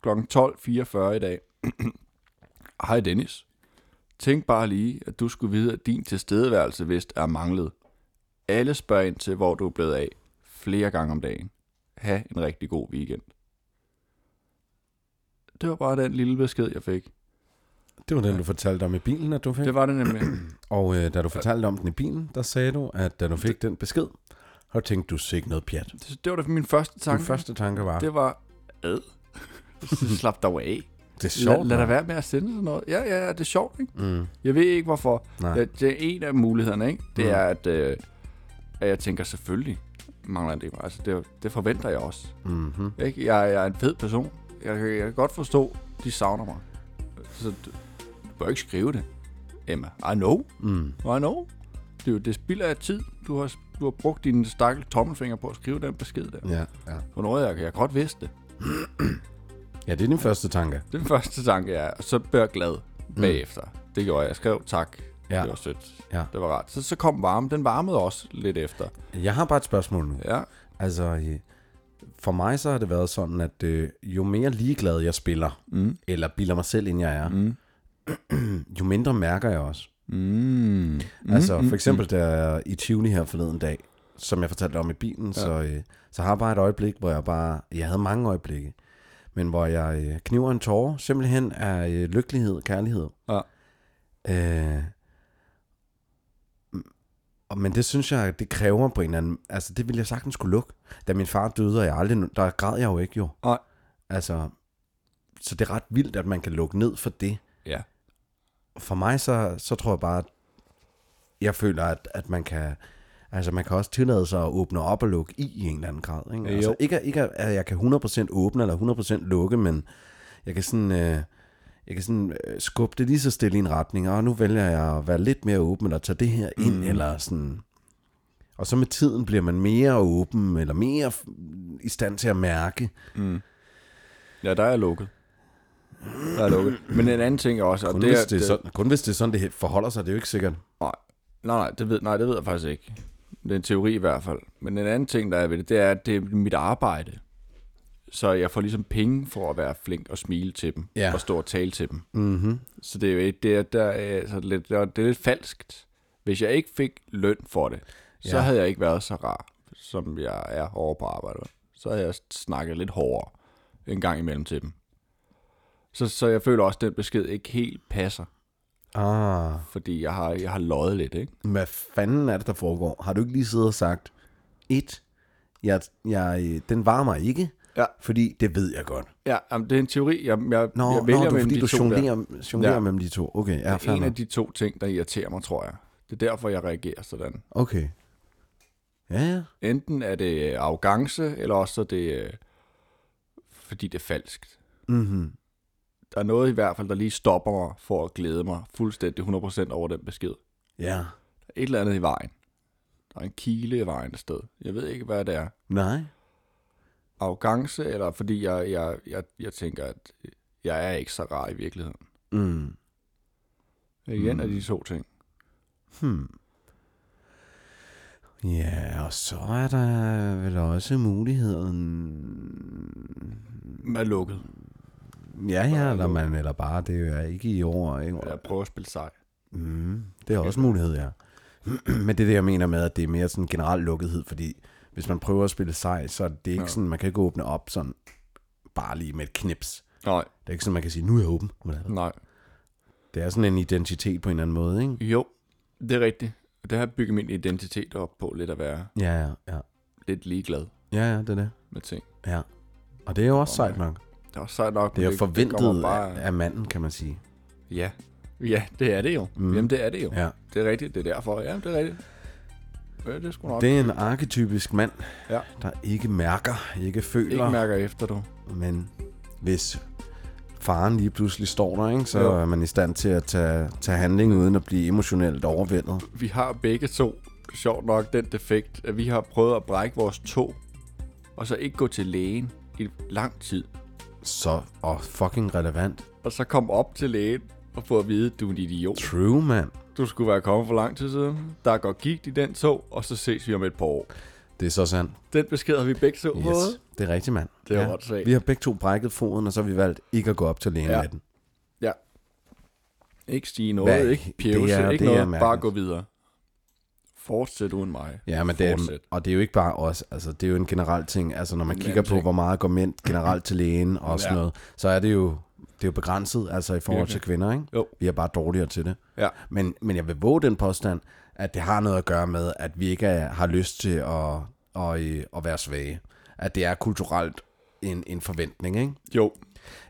Speaker 2: kl. 12.44 i dag. Hej Dennis. Tænk bare lige, at du skulle vide, at din tilstedeværelse vist er manglet. Alle spørger ind til, hvor du er blevet af flere gange om dagen. Ha' en rigtig god weekend. Det var bare den lille besked, jeg fik.
Speaker 1: Det var den, du fortalte om i bilen, at du fik.
Speaker 2: Det var det nemlig.
Speaker 1: Og øh, da du fortalte om den i bilen, der sagde du, at da du fik den besked, har du tænkt, du sikkert noget pjat.
Speaker 2: Det- Det var da min første
Speaker 1: Din
Speaker 2: tanke.
Speaker 1: første tanke var, det,
Speaker 2: Det var, ad. Slap dig af.
Speaker 1: det er
Speaker 2: Lad,
Speaker 1: sjovt.
Speaker 2: lad
Speaker 1: hva'?
Speaker 2: dig være med at sende sådan noget. Ja, ja, ja, det er sjovt, ikke?
Speaker 1: Mm,
Speaker 2: Jeg ved ikke, hvorfor.
Speaker 1: nej.
Speaker 2: Ja, det er en af mulighederne, ikke? Det
Speaker 1: Mm.
Speaker 2: er, at, øh, at jeg tænker, selvfølgelig mangler det. Altså, det, det forventer jeg også.
Speaker 1: Mm-hmm.
Speaker 2: Ikke? Jeg, jeg er en fed person. Jeg, kan- jeg kan godt forstå, de savner mig. Så du, du bør ikke skrive det, Emma. I know.
Speaker 1: Mm.
Speaker 2: I know. Det, er jo- det spilder af tid. Du har, du har brugt dine stakkel tommelfinger på at skrive den besked der.
Speaker 1: Ja, ja.
Speaker 2: For noget, jeg, jeg godt vidste det.
Speaker 1: ja, det er din første tanke.
Speaker 2: Det er Den første tanke er, så blev jeg glad bagefter. Det gjorde jeg. Jeg skrev tak.
Speaker 1: Mm. Ja.
Speaker 2: Ja. Det var sødt.
Speaker 1: Ja.
Speaker 2: Det var rart. Så, så kom varmen. Den varmede også lidt efter.
Speaker 1: Jeg har bare et spørgsmål nu.
Speaker 2: Ja.
Speaker 1: Altså, øh, for mig så har det været sådan, at øh, jo mere ligeglad jeg spiller,
Speaker 2: Mm.
Speaker 1: eller bilder mig selv ind, jeg er,
Speaker 2: Mm.
Speaker 1: jo mindre mærker jeg også.
Speaker 2: Mm.
Speaker 1: Mm, altså for eksempel mm. der i Tivoli her forleden dag, som jeg fortalte om i bilen, ja. så, øh, så har jeg bare et øjeblik, hvor jeg bare, jeg havde mange øjeblikke, men hvor jeg øh, kniver en tårer, simpelthen af øh, lykkelighed, kærlighed.
Speaker 2: Ja.
Speaker 1: Øh, og- men det synes jeg, det kræver på en eller anden, altså det ville jeg sagtens skulle lukke. Da min far døde, og jeg aldrig, der græd jeg jo ikke jo.
Speaker 2: Nej.
Speaker 1: Altså, så det er ret vildt, at man kan lukke ned for det
Speaker 2: Ja.
Speaker 1: for mig så, så tror jeg bare, at jeg føler, at, at man kan... Altså, man kan også tillade sig at åbne op og lukke i i en eller anden grad. Ikke?
Speaker 2: Jo.
Speaker 1: Altså, ikke, at- ikke at- at jeg kan 100% åbne eller 100% lukke, men jeg kan sådan, øh, jeg kan sådan øh, skubbe det lige så stille i en retning, og nu vælger jeg at være lidt mere åben, eller tage det her ind,
Speaker 2: Mm.
Speaker 1: mm. eller sådan... Og så med tiden bliver man mere åben, eller mere f- i stand til at mærke.
Speaker 2: Mm. Ja, der er jeg lukket. Der er jeg lukket. Men en anden ting også, og
Speaker 1: Kun,
Speaker 2: det,
Speaker 1: det,
Speaker 2: er-
Speaker 1: hvis det, er sådan, kun hvis det er sådan, det forholder sig, det er jo ikke sikkert.
Speaker 2: Nej, nej, nej, det ved, nej, det ved jeg faktisk ikke. Det er en teori i hvert fald. Men en anden ting, der er ved det, det er, at det er mit arbejde. Så jeg får ligesom penge for at være flink og smile til dem.
Speaker 1: Ja.
Speaker 2: Og stå og tale til dem.
Speaker 1: Mm-hmm.
Speaker 2: Så det er, jo ikke- det er, der, er altså lidt, der, det er lidt falskt. Hvis jeg ikke fik løn for det, så
Speaker 1: Ja.
Speaker 2: havde jeg ikke været så rar, som jeg er over på arbejde. Så havde jeg snakket lidt hårdere en gang imellem til dem. Så, så jeg føler også, at den besked ikke helt passer,
Speaker 1: Ah.
Speaker 2: fordi jeg har, jeg har løjet lidt, ikke?
Speaker 1: hvad fanden er det, der foregår? Har du ikke lige siddet og sagt, et, jeg, jeg, øh, den varmer ikke,
Speaker 2: Ja.
Speaker 1: fordi det ved jeg godt.
Speaker 2: Ja, jamen, det er en teori. Jeg, jeg,
Speaker 1: Nå,
Speaker 2: jeg
Speaker 1: jeg nå
Speaker 2: vælger
Speaker 1: det er
Speaker 2: mellem
Speaker 1: fordi,
Speaker 2: de
Speaker 1: du
Speaker 2: to der.
Speaker 1: jonglerer, jonglerer
Speaker 2: Ja.
Speaker 1: ja. mellem de to. Okay, ja,
Speaker 2: Det er en
Speaker 1: fanden.
Speaker 2: af de to ting, der irriterer mig, tror jeg. Det er derfor, jeg reagerer sådan.
Speaker 1: Okay. Ja, ja.
Speaker 2: Enten er det øh, arrogance, eller også er det, øh, fordi det er falskt.
Speaker 1: Mm-hmm.
Speaker 2: der er noget i hvert fald, der lige stopper mig for at glæde mig fuldstændig 100% over den besked. Der
Speaker 1: Ja.
Speaker 2: er et eller andet i vejen. Der er en kile i vejen et sted. Jeg ved ikke, hvad det er.
Speaker 1: Nej.
Speaker 2: Arrogance, eller fordi jeg, jeg, jeg, jeg tænker, at jeg er ikke så rar i virkeligheden.
Speaker 1: Mm.
Speaker 2: Igen
Speaker 1: Mm.
Speaker 2: er de to ting.
Speaker 1: Hmm. Ja, og så er der vel også muligheden...
Speaker 2: Man er lukket.
Speaker 1: Ja, ja, eller, man, eller bare, det er ikke i år. Ikke?
Speaker 2: Jeg prøver at spille sej.
Speaker 1: Mm, det er også en mulighed, ja. Men det er det, jeg mener med, at det er mere sådan generel lukkethed, fordi hvis man prøver at spille sej, så er det ikke
Speaker 2: Ja.
Speaker 1: ja. sådan, man kan ikke åbne op sådan bare lige med et knips.
Speaker 2: Nej,
Speaker 1: Det er ikke sådan, man kan sige, nu er jeg åben.
Speaker 2: nej.
Speaker 1: Det er sådan en identitet på en eller anden måde, ikke?
Speaker 2: Jo, det er rigtigt. Det har jeg bygget min identitet op på lidt at være
Speaker 1: Ja, ja, ja.
Speaker 2: lidt ligeglad
Speaker 1: Ja, ja, det er det.
Speaker 2: med ting.
Speaker 1: Ja. Og det er jo også
Speaker 2: Sådan.
Speaker 1: sejt nok.
Speaker 2: Det er også sejt nok.
Speaker 1: Det er
Speaker 2: men
Speaker 1: jo
Speaker 2: kommer
Speaker 1: forventet af, af manden, kan man sige.
Speaker 2: Ja. Ja, det er det jo.
Speaker 1: Mm.
Speaker 2: Mm. Jamen, det er det jo.
Speaker 1: Ja.
Speaker 2: Det er rigtigt, det er derfor. Ja, det er rigtigt. Ja, det er sgu nok. Det
Speaker 1: Det er en arketypisk mand,
Speaker 2: Ja.
Speaker 1: der ikke mærker, ikke føler,
Speaker 2: ikke mærker efter, du.
Speaker 1: men hvis faren lige pludselig står der, ikke, så
Speaker 2: Jo.
Speaker 1: er man i stand til at tage, tage handling uden at blive emotionelt overvældet.
Speaker 2: Vi har begge to, sjovt nok, den defekt, at vi har prøvet at brække vores tog, og så ikke gå til lægen i lang tid.
Speaker 1: Så, og fucking relevant.
Speaker 2: Og så komme op til lægen og få at vide, du er en idiot.
Speaker 1: True, man.
Speaker 2: Du skulle være kommet for lang tid siden. Der går gigt i den tog, og så ses vi om et par år.
Speaker 1: Det er så sandt.
Speaker 2: Den besked har vi begge to yes. fået.
Speaker 1: Yes, det er rigtigt, mand.
Speaker 2: Det er åndssvagt.
Speaker 1: Vi har begge to brækket foden, og så har vi valgt ikke at gå op til lægen
Speaker 2: Ja.
Speaker 1: ja. den.
Speaker 2: Ja. Ikke stige noget,
Speaker 1: Hvad?
Speaker 2: Hvad? ikke
Speaker 1: Det
Speaker 2: pjævse,
Speaker 1: er-
Speaker 2: ikke
Speaker 1: det er
Speaker 2: noget.
Speaker 1: mærkeligt.
Speaker 2: Bare gå videre. Fortsæt uden mig.
Speaker 1: Ja, men det er,
Speaker 2: Fortsæt.
Speaker 1: og det er jo ikke bare os, altså det er jo en generel ting. Altså når man
Speaker 2: En
Speaker 1: kigger
Speaker 2: anden
Speaker 1: på,
Speaker 2: ting.
Speaker 1: hvor meget går mænd generelt til lægen og sådan
Speaker 2: Ja.
Speaker 1: noget, så er det jo, det er jo begrænset altså i forhold til kvinder, ikke?
Speaker 2: Jo.
Speaker 1: Vi er bare dårligere til det.
Speaker 2: Ja.
Speaker 1: Men, men jeg vil våge den påstand, at det har noget at gøre med, at vi ikke er, har lyst til at, at, øh, at være svage. At det er kulturelt en, en forventning, ikke?
Speaker 2: Jo.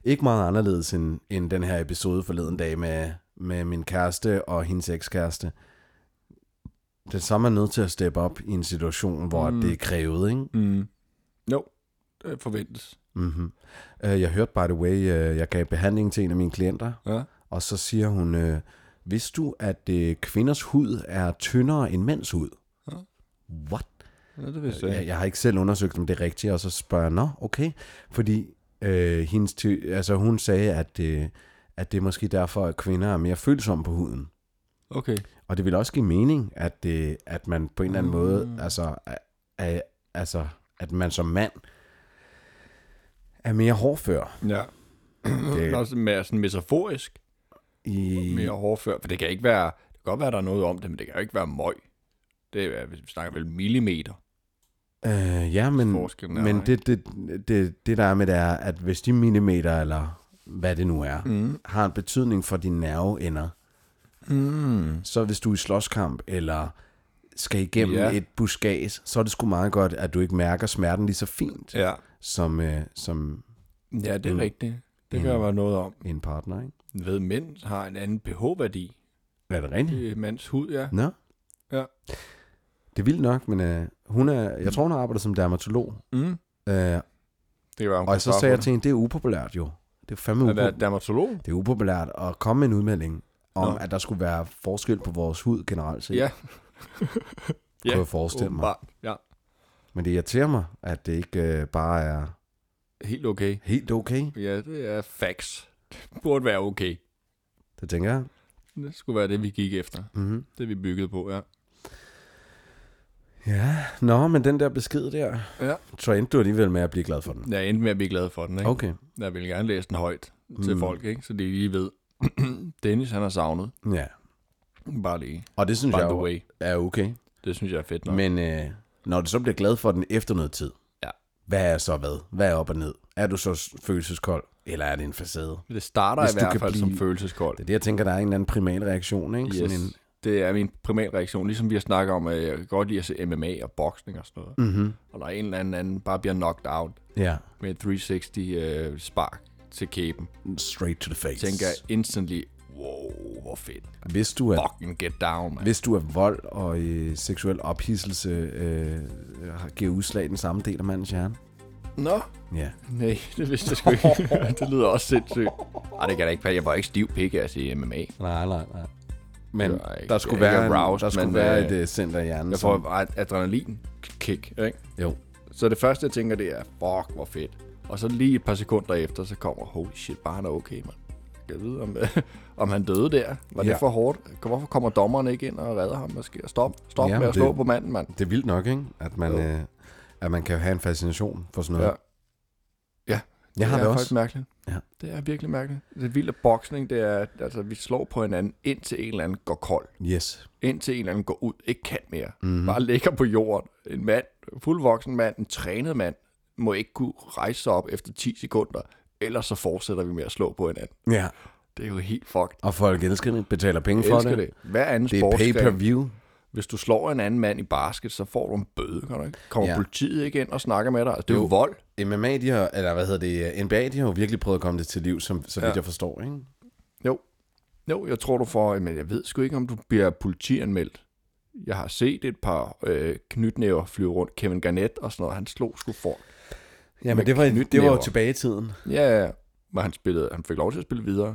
Speaker 1: Ikke meget anderledes end, end den her episode forleden dag med, med min kæreste og hendes ekskæreste. Det samme er nødt til at steppe op i en situation, hvor mm.
Speaker 2: Mm.
Speaker 1: det er krævet, ikke?
Speaker 2: Mm. Jo. Det forventes.
Speaker 1: Mm-hmm. Jeg hørte, by the way, øh, jeg gav behandling til en af mine klienter,
Speaker 2: Ja.
Speaker 1: og så siger hun, øh, vidste du, at øh, kvinders hud er tyndere end mænds hud?
Speaker 2: Ja.
Speaker 1: What?
Speaker 2: ja det vidste jeg.
Speaker 1: Jeg, jeg har ikke selv undersøgt, om det er rigtigt, og så spørger jeg, nå, okay. Fordi øh, hendes ty- altså, hun sagde, at, øh, at det er måske derfor, at kvinder er mere følsomme på huden.
Speaker 2: Okay.
Speaker 1: Og det vil også give mening, at, øh, at man på en eller anden
Speaker 2: Mm.
Speaker 1: måde, altså, er, er, altså, at man som mand er mere hårdfør.
Speaker 2: Ja.
Speaker 1: Det-
Speaker 2: Det er også mere sådan mesaforisk.
Speaker 1: I,
Speaker 2: Mere hårdfør. For det kan ikke være... Det kan godt være, der er noget om det, men det kan jo ikke være møg. Det er, vi snakker vel millimeter.
Speaker 1: Øh, ja, men,
Speaker 2: Forskellen er
Speaker 1: men
Speaker 2: der,
Speaker 1: det, det, det, det der er med det er, at hvis de millimeter, eller hvad det nu er, mm. har en betydning for dine nerveender,
Speaker 2: Mm.
Speaker 1: så hvis du er i slåskamp, eller skal igennem
Speaker 2: Ja.
Speaker 1: yeah. et buskads, så er det sgu meget godt, at du ikke mærker smerten lige så fint,
Speaker 2: Ja.
Speaker 1: som, øh, som
Speaker 2: Ja, det er
Speaker 1: Mm.
Speaker 2: rigtigt. Det
Speaker 1: Mm.
Speaker 2: kan være noget om.
Speaker 1: en partner, ikke?
Speaker 2: Ved, mænd har en anden pH-værdi.
Speaker 1: Er det rigtigt?
Speaker 2: Det er mands hud, ja.
Speaker 1: Mm. Nå?
Speaker 2: Ja.
Speaker 1: Det er vildt nok, men øh, hun er, jeg tror, hun arbejder som dermatolog.
Speaker 2: Mm.
Speaker 1: Øh,
Speaker 2: Det kan være, hun
Speaker 1: og
Speaker 2: kan
Speaker 1: så
Speaker 2: svare
Speaker 1: sagde
Speaker 2: på
Speaker 1: jeg til hende, det er upopulært jo. Det er fandme
Speaker 2: At være
Speaker 1: upopulært.
Speaker 2: dermatolog?
Speaker 1: Det er upopulært at komme med en udmelding om,
Speaker 2: Nå.
Speaker 1: at der skulle være forskel på vores hud generelt set.
Speaker 2: Ja.
Speaker 1: kunne
Speaker 2: ja,
Speaker 1: jeg forestille mig.
Speaker 2: åbenbart. Ja,
Speaker 1: Men det irriterer mig, at det ikke øh, bare er
Speaker 2: helt okay.
Speaker 1: helt okay.
Speaker 2: Ja, det er facts. Det burde være okay.
Speaker 1: Det tænker jeg.
Speaker 2: Det skulle være det, vi gik efter.
Speaker 1: Mm-hmm.
Speaker 2: Det, vi byggede på, ja.
Speaker 1: Ja, nå, men den der besked der,
Speaker 2: Ja.
Speaker 1: så endte du alligevel med at blive glad for den.
Speaker 2: Jeg endte med at blive glad for den, ikke?
Speaker 1: Okay,
Speaker 2: Jeg ville gerne læse den højt til
Speaker 1: Mm.
Speaker 2: folk, ikke? Så de lige ved. Dennis, han har savnet.
Speaker 1: ja.
Speaker 2: Bare lige.
Speaker 1: Og det synes
Speaker 2: By
Speaker 1: jeg
Speaker 2: the
Speaker 1: jo
Speaker 2: way.
Speaker 1: er okay.
Speaker 2: Det synes jeg er fedt nok.
Speaker 1: Men øh, når du så bliver glad for den efter noget tid,
Speaker 2: Ja.
Speaker 1: hvad er så hvad? Hvad er op og ned? Er du så s- følelseskold, eller er det en facade?
Speaker 2: det starter
Speaker 1: Hvis
Speaker 2: i
Speaker 1: du
Speaker 2: hvert
Speaker 1: kan
Speaker 2: fald blive... som
Speaker 1: blive-
Speaker 2: følelseskold.
Speaker 1: Det er det, jeg tænker, der er en eller anden primal reaktion, ikke?
Speaker 2: Yes.
Speaker 1: en,
Speaker 2: Det er min primære reaktion, ligesom vi har snakket om, at jeg kan godt lide at se MMA og boksning og sådan noget. Mm.
Speaker 1: mm-hmm.
Speaker 2: Og der er en eller anden, anden bare bliver knocked out
Speaker 1: Ja,
Speaker 2: med et 360 øh, spark til kæben.
Speaker 1: straight to the face.
Speaker 2: Tænker jeg instantly, wow, hvor fedt.
Speaker 1: Hvis du er,
Speaker 2: Fucking get down, man.
Speaker 1: hvis du er vold og øh, seksuel ophidselse øh, har- giver udslag i den samme del af mandens hjerne.
Speaker 2: Nå,
Speaker 1: Ja.
Speaker 2: nej, det vidste jeg sgu ikke. det lyder også sindssygt. Ej, det kan da ikke passe. Jeg var ikke stiv pik, altså i MMA.
Speaker 1: Nej, nej, nej. Men
Speaker 2: Det var ikke-
Speaker 1: der skulle
Speaker 2: jeg er
Speaker 1: være,
Speaker 2: ikke
Speaker 1: en,
Speaker 2: aroused,
Speaker 1: der skulle
Speaker 2: men,
Speaker 1: være
Speaker 2: øh,
Speaker 1: et øh, center i hjernen.
Speaker 2: Jeg
Speaker 1: som-
Speaker 2: får et adrenalin-kick, ikke?
Speaker 1: Jo.
Speaker 2: Så det første, jeg tænker, det er, fuck, hvor fedt. Og så lige et par sekunder efter, så kommer, holy shit, bare han er okay, mand. Jeg kan vide, om, om han døde der. Var ja.
Speaker 1: Ja.
Speaker 2: det for hårdt? Hvorfor kommer dommeren ikke ind og redder ham måske? Og Stop, stop
Speaker 1: Ja,
Speaker 2: ja, med
Speaker 1: men
Speaker 2: at slå
Speaker 1: det-
Speaker 2: på manden, mand.
Speaker 1: Det er vildt nok, ikke? At man,
Speaker 2: Jo.
Speaker 1: øh, at man kan have en fascination for sådan
Speaker 2: Ja.
Speaker 1: noget.
Speaker 2: Ja.
Speaker 1: Jeg har
Speaker 2: det
Speaker 1: det
Speaker 2: er
Speaker 1: også.
Speaker 2: faktisk mærkeligt.
Speaker 1: Ja.
Speaker 2: Det er virkelig mærkeligt. Det er vildt, at boksning, det er, altså, vi slår på hinanden, indtil en eller anden går kold.
Speaker 1: Yes.
Speaker 2: Indtil en eller anden går ud, ikke kan mere.
Speaker 1: Mhm.
Speaker 2: Mm. Bare ligger på jorden. En mand, fuldvoksen mand, en trænet mand, må ikke kunne rejse sig op efter 10 sekunder. Ellers så fortsætter vi med at slå på hinanden.
Speaker 1: Ja.
Speaker 2: Det er jo helt fucked.
Speaker 1: Og folk elsker det, betaler penge
Speaker 2: Jeg
Speaker 1: for
Speaker 2: elsker
Speaker 1: det.
Speaker 2: det. Hver anden
Speaker 1: Det er
Speaker 2: sportsgren.
Speaker 1: pay-per-view.
Speaker 2: Hvis du slår en anden mand i basket, så får du en bøde, kan du ikke? Kommer
Speaker 1: Ja.
Speaker 2: ja. politiet ikke ind og snakker med dig? Altså, det er jo,
Speaker 1: Jo.
Speaker 2: vold.
Speaker 1: MMA, de har, eller hvad hedder det, NBA, de har jo virkelig prøvet at komme det til liv, som, så vidt
Speaker 2: Ja.
Speaker 1: jeg forstår, ikke?
Speaker 2: Jo. Jo, jeg tror du får, men jeg ved sgu ikke, om du bliver politianmeldt. Jeg har set et par øh, knytnæver flyve rundt. Kevin Garnett og sådan noget, han slog sgu for.
Speaker 1: Ja,
Speaker 2: Med
Speaker 1: men det var, det var
Speaker 2: knytnæver.
Speaker 1: jo tilbage i tiden.
Speaker 2: Ja, ja. Men han, spillede, han fik lov til at spille videre.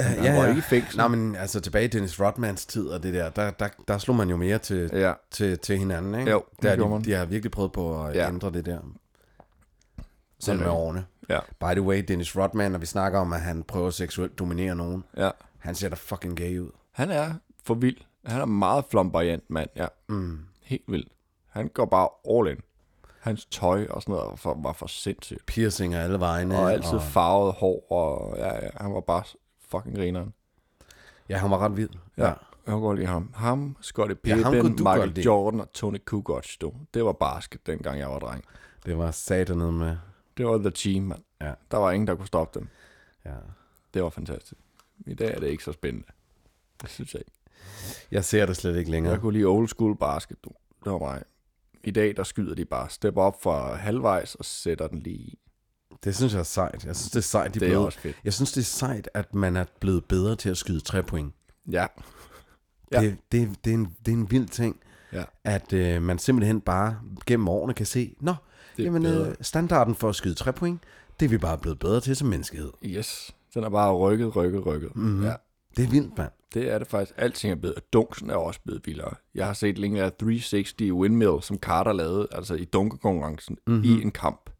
Speaker 2: Han
Speaker 1: ja,
Speaker 2: ja, var
Speaker 1: ja.
Speaker 2: ikke i fængsel.
Speaker 1: Nej, men altså tilbage i Dennis Rodmans tid og det der, der, der, der slog man jo mere til,
Speaker 2: Ja,
Speaker 1: til, til hinanden, ikke?
Speaker 2: Jo, det
Speaker 1: der,
Speaker 2: gjorde man.
Speaker 1: de, de har virkelig prøvet på at
Speaker 2: Ja.
Speaker 1: ja. ændre det der. Sådan med
Speaker 2: rigtigt.
Speaker 1: årene.
Speaker 2: ja,
Speaker 1: By the way, Dennis Rodman, når vi snakker om, at han prøver seksuelt at dominere nogen,
Speaker 2: ja.
Speaker 1: han ser da fucking gay ud.
Speaker 2: Han er for vild. Han er meget flamboyant, mand. Ja,
Speaker 1: Mm.
Speaker 2: helt vildt. Han går bare all in. Hans tøj og sådan noget var for, var for sindssygt.
Speaker 1: Piercing af alle vegne.
Speaker 2: Og altid farvet hår, og ja, ja, han var bare fucking grineren.
Speaker 1: Ja, han var ret vild.
Speaker 2: Ja. Jeg kunne godt lide ham. Ham, Scottie
Speaker 1: Ja, ham
Speaker 2: Pippen, ja,
Speaker 1: kunne du godt
Speaker 2: Michael
Speaker 1: lide.
Speaker 2: Jordan og Tony Kukoc, du. Det var basket, dengang jeg var dreng.
Speaker 1: Det var satanet med.
Speaker 2: Det var the team, mand.
Speaker 1: Ja.
Speaker 2: Der var ingen, der kunne stoppe dem.
Speaker 1: Ja.
Speaker 2: Det var fantastisk. I dag er det ikke så spændende. Det synes jeg ikke.
Speaker 1: Jeg ser det slet ikke længere.
Speaker 2: Jeg kunne lide old school basket, du. Det var mig. I dag, der skyder de bare step op fra halvvejs og sætter den lige i.
Speaker 1: Det synes jeg er sejt. Jeg synes, det er sejt, de
Speaker 2: Det er
Speaker 1: blevet-
Speaker 2: også fedt.
Speaker 1: Jeg synes, det er sejt, at man er blevet bedre til at skyde tre point.
Speaker 2: Ja, Ja.
Speaker 1: Ja. Det, det, det, er en, det er en vild ting,
Speaker 2: Ja.
Speaker 1: at øh, man simpelthen bare gennem årene kan se, nå,
Speaker 2: Det er
Speaker 1: jamen,
Speaker 2: bedre."
Speaker 1: øh, standarden for at skyde tre point, det er vi bare blevet bedre til som menneskehed.
Speaker 2: yes. Den er bare rykket, rykket, rykket.
Speaker 1: Mhm.
Speaker 2: Mm-hmm. Ja.
Speaker 1: Det er vildt, mand.
Speaker 2: Det er det faktisk. Alting er bedre. Dunksen er også blevet vildere. Jeg har set længere 360 windmill, som Carter lavede, altså i dunkerkonkurrencen, mm-hmm. i en kamp.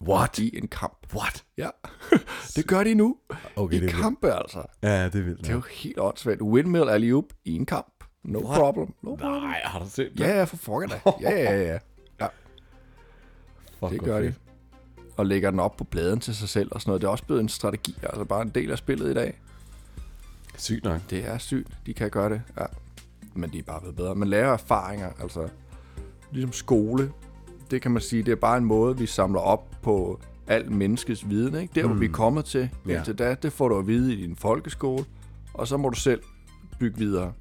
Speaker 1: Mhm. What?
Speaker 2: I en kamp.
Speaker 1: What?
Speaker 2: Ja, det gør de nu.
Speaker 1: Okay, det
Speaker 2: I
Speaker 1: er vildt.
Speaker 2: kampe, altså.
Speaker 1: Ja, det er vildt.
Speaker 2: Det er jo helt åndssvagt. Windmill alley -oop i en kamp. No What? problem. No problem.
Speaker 1: Nej, har du set det?
Speaker 2: Ja, ja, for fucker da. Ja, ja, ja. ja
Speaker 1: Fuck,
Speaker 2: det
Speaker 1: hvor
Speaker 2: gør de.
Speaker 1: fedt.
Speaker 2: Og lægger den op på pladen til sig selv og sådan noget. Det er også blevet en strategi, altså bare en del af spillet i dag.
Speaker 1: Sygt nok.
Speaker 2: Det er sygt, de kan gøre det. Ja. Men de er bare blevet bedre. Man lærer erfaringer, altså ligesom skole. Det kan man sige, det er bare en måde, vi samler op på al menneskets viden. Ikke? Der, hvor vi er kommet til
Speaker 1: Ja.
Speaker 2: indtil da, det får du at vide i din folkeskole, og så må du selv bygge videre.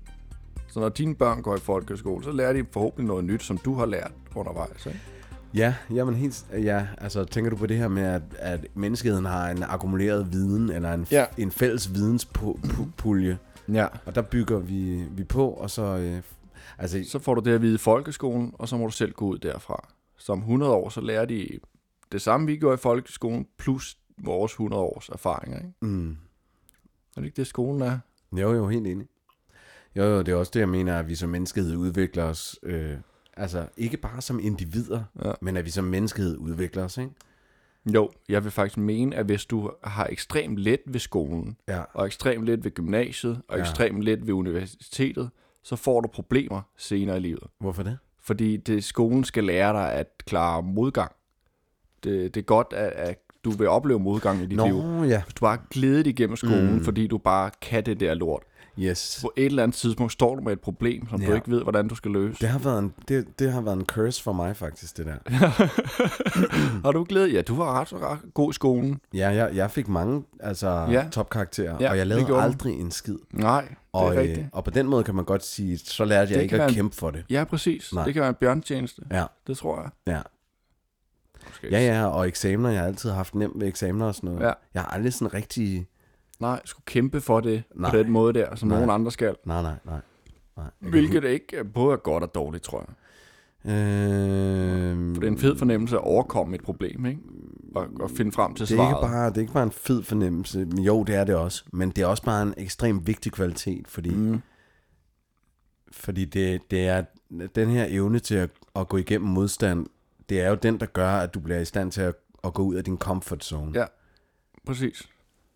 Speaker 2: Så når dine børn går i folkeskole, så lærer de forhåbentlig noget nyt, som du har lært undervejs. Ikke?
Speaker 1: Ja, jamen helt, ja, altså tænker du på det her med, at, at menneskeheden har en akkumuleret viden, eller en,
Speaker 2: Ja.
Speaker 1: en fælles videnspulje,
Speaker 2: Ja.
Speaker 1: og der bygger vi, vi på, og så, øh, altså
Speaker 2: Så får du det at vide i folkeskolen, og så må du selv gå ud derfra. Som 100 år, så lærer de det samme, vi gjorde i folkeskolen, plus vores 100 års erfaringer. Ikke?
Speaker 1: Mm.
Speaker 2: Er det ikke det, skolen er?
Speaker 1: Jo, jo, helt enig. Jo, jo, det er også det, jeg mener, at vi som menneskehed udvikler os. Øh, altså, ikke bare som individer,
Speaker 2: Ja.
Speaker 1: ja. men at vi som menneskehed udvikler os, ikke?
Speaker 2: Jo, jeg vil faktisk mene, at hvis du har ekstremt let ved skolen,
Speaker 1: Ja.
Speaker 2: og ekstremt let ved gymnasiet,
Speaker 1: Ja.
Speaker 2: og ja. ekstremt let ved universitetet, så får du problemer senere i livet.
Speaker 1: Hvorfor det?
Speaker 2: Fordi det, skolen skal lære dig at klare modgang. Det, det er godt, at, at du vil opleve modgang i dit liv.
Speaker 1: Nå, ja.
Speaker 2: Hvis du bare glider igennem skolen, mm. fordi du bare kan det der lort.
Speaker 1: Yes.
Speaker 2: På et eller andet tidspunkt står du med et problem, som ja. du
Speaker 1: Ja.
Speaker 2: ikke ved, hvordan du skal løse.
Speaker 1: Det har, været en, det, det har været en curse for mig, faktisk, det der.
Speaker 2: Har du glædet? Ja, du var ret, ret god i skolen.
Speaker 1: Ja, jeg, jeg fik mange altså,
Speaker 2: Ja.
Speaker 1: ja. topkarakterer,
Speaker 2: Ja,
Speaker 1: ja, og jeg
Speaker 2: det
Speaker 1: lavede
Speaker 2: gjorde du.
Speaker 1: aldrig en skid.
Speaker 2: Nej, det
Speaker 1: Og, øh,
Speaker 2: er rigtigt.
Speaker 1: og på den måde kan man godt sige, så lærte jeg
Speaker 2: Det
Speaker 1: ikke
Speaker 2: kan
Speaker 1: at
Speaker 2: være-
Speaker 1: kæmpe for det.
Speaker 2: Ja, præcis. Nej.
Speaker 1: Nej.
Speaker 2: Det kan være en bjørntjeneste.
Speaker 1: Ja,
Speaker 2: Det tror jeg.
Speaker 1: ja.
Speaker 2: Måske.
Speaker 1: Ja, ja, og eksamener, jeg har altid haft nemt ved eksamener og sådan noget.
Speaker 2: Ja.
Speaker 1: Jeg har aldrig sådan rigtig...
Speaker 2: Nej, skulle kæmpe for det Nej.
Speaker 1: Nej.
Speaker 2: på den måde der, som Nej. nogen andre skal.
Speaker 1: Nej, nej, nej. nej. Jeg kan
Speaker 2: Hvilket ikke er både er godt og dårligt, tror jeg.
Speaker 1: Øhm,
Speaker 2: For det er en
Speaker 1: Mm.
Speaker 2: fed fornemmelse at overkomme et problem, ikke? Og, og finde frem til
Speaker 1: det er, ikke
Speaker 2: svaret.
Speaker 1: bare, det er ikke bare en fed fornemmelse. Men Jo, det er det også. Men det er også bare en ekstremt vigtig kvalitet, fordi,
Speaker 2: Mm.
Speaker 1: mm. fordi det, det er den her evne til at, at gå igennem modstand, det er jo den, der gør, at du bliver i stand til at, at gå ud af din comfort zone
Speaker 2: Ja.
Speaker 1: ja.
Speaker 2: Præcis.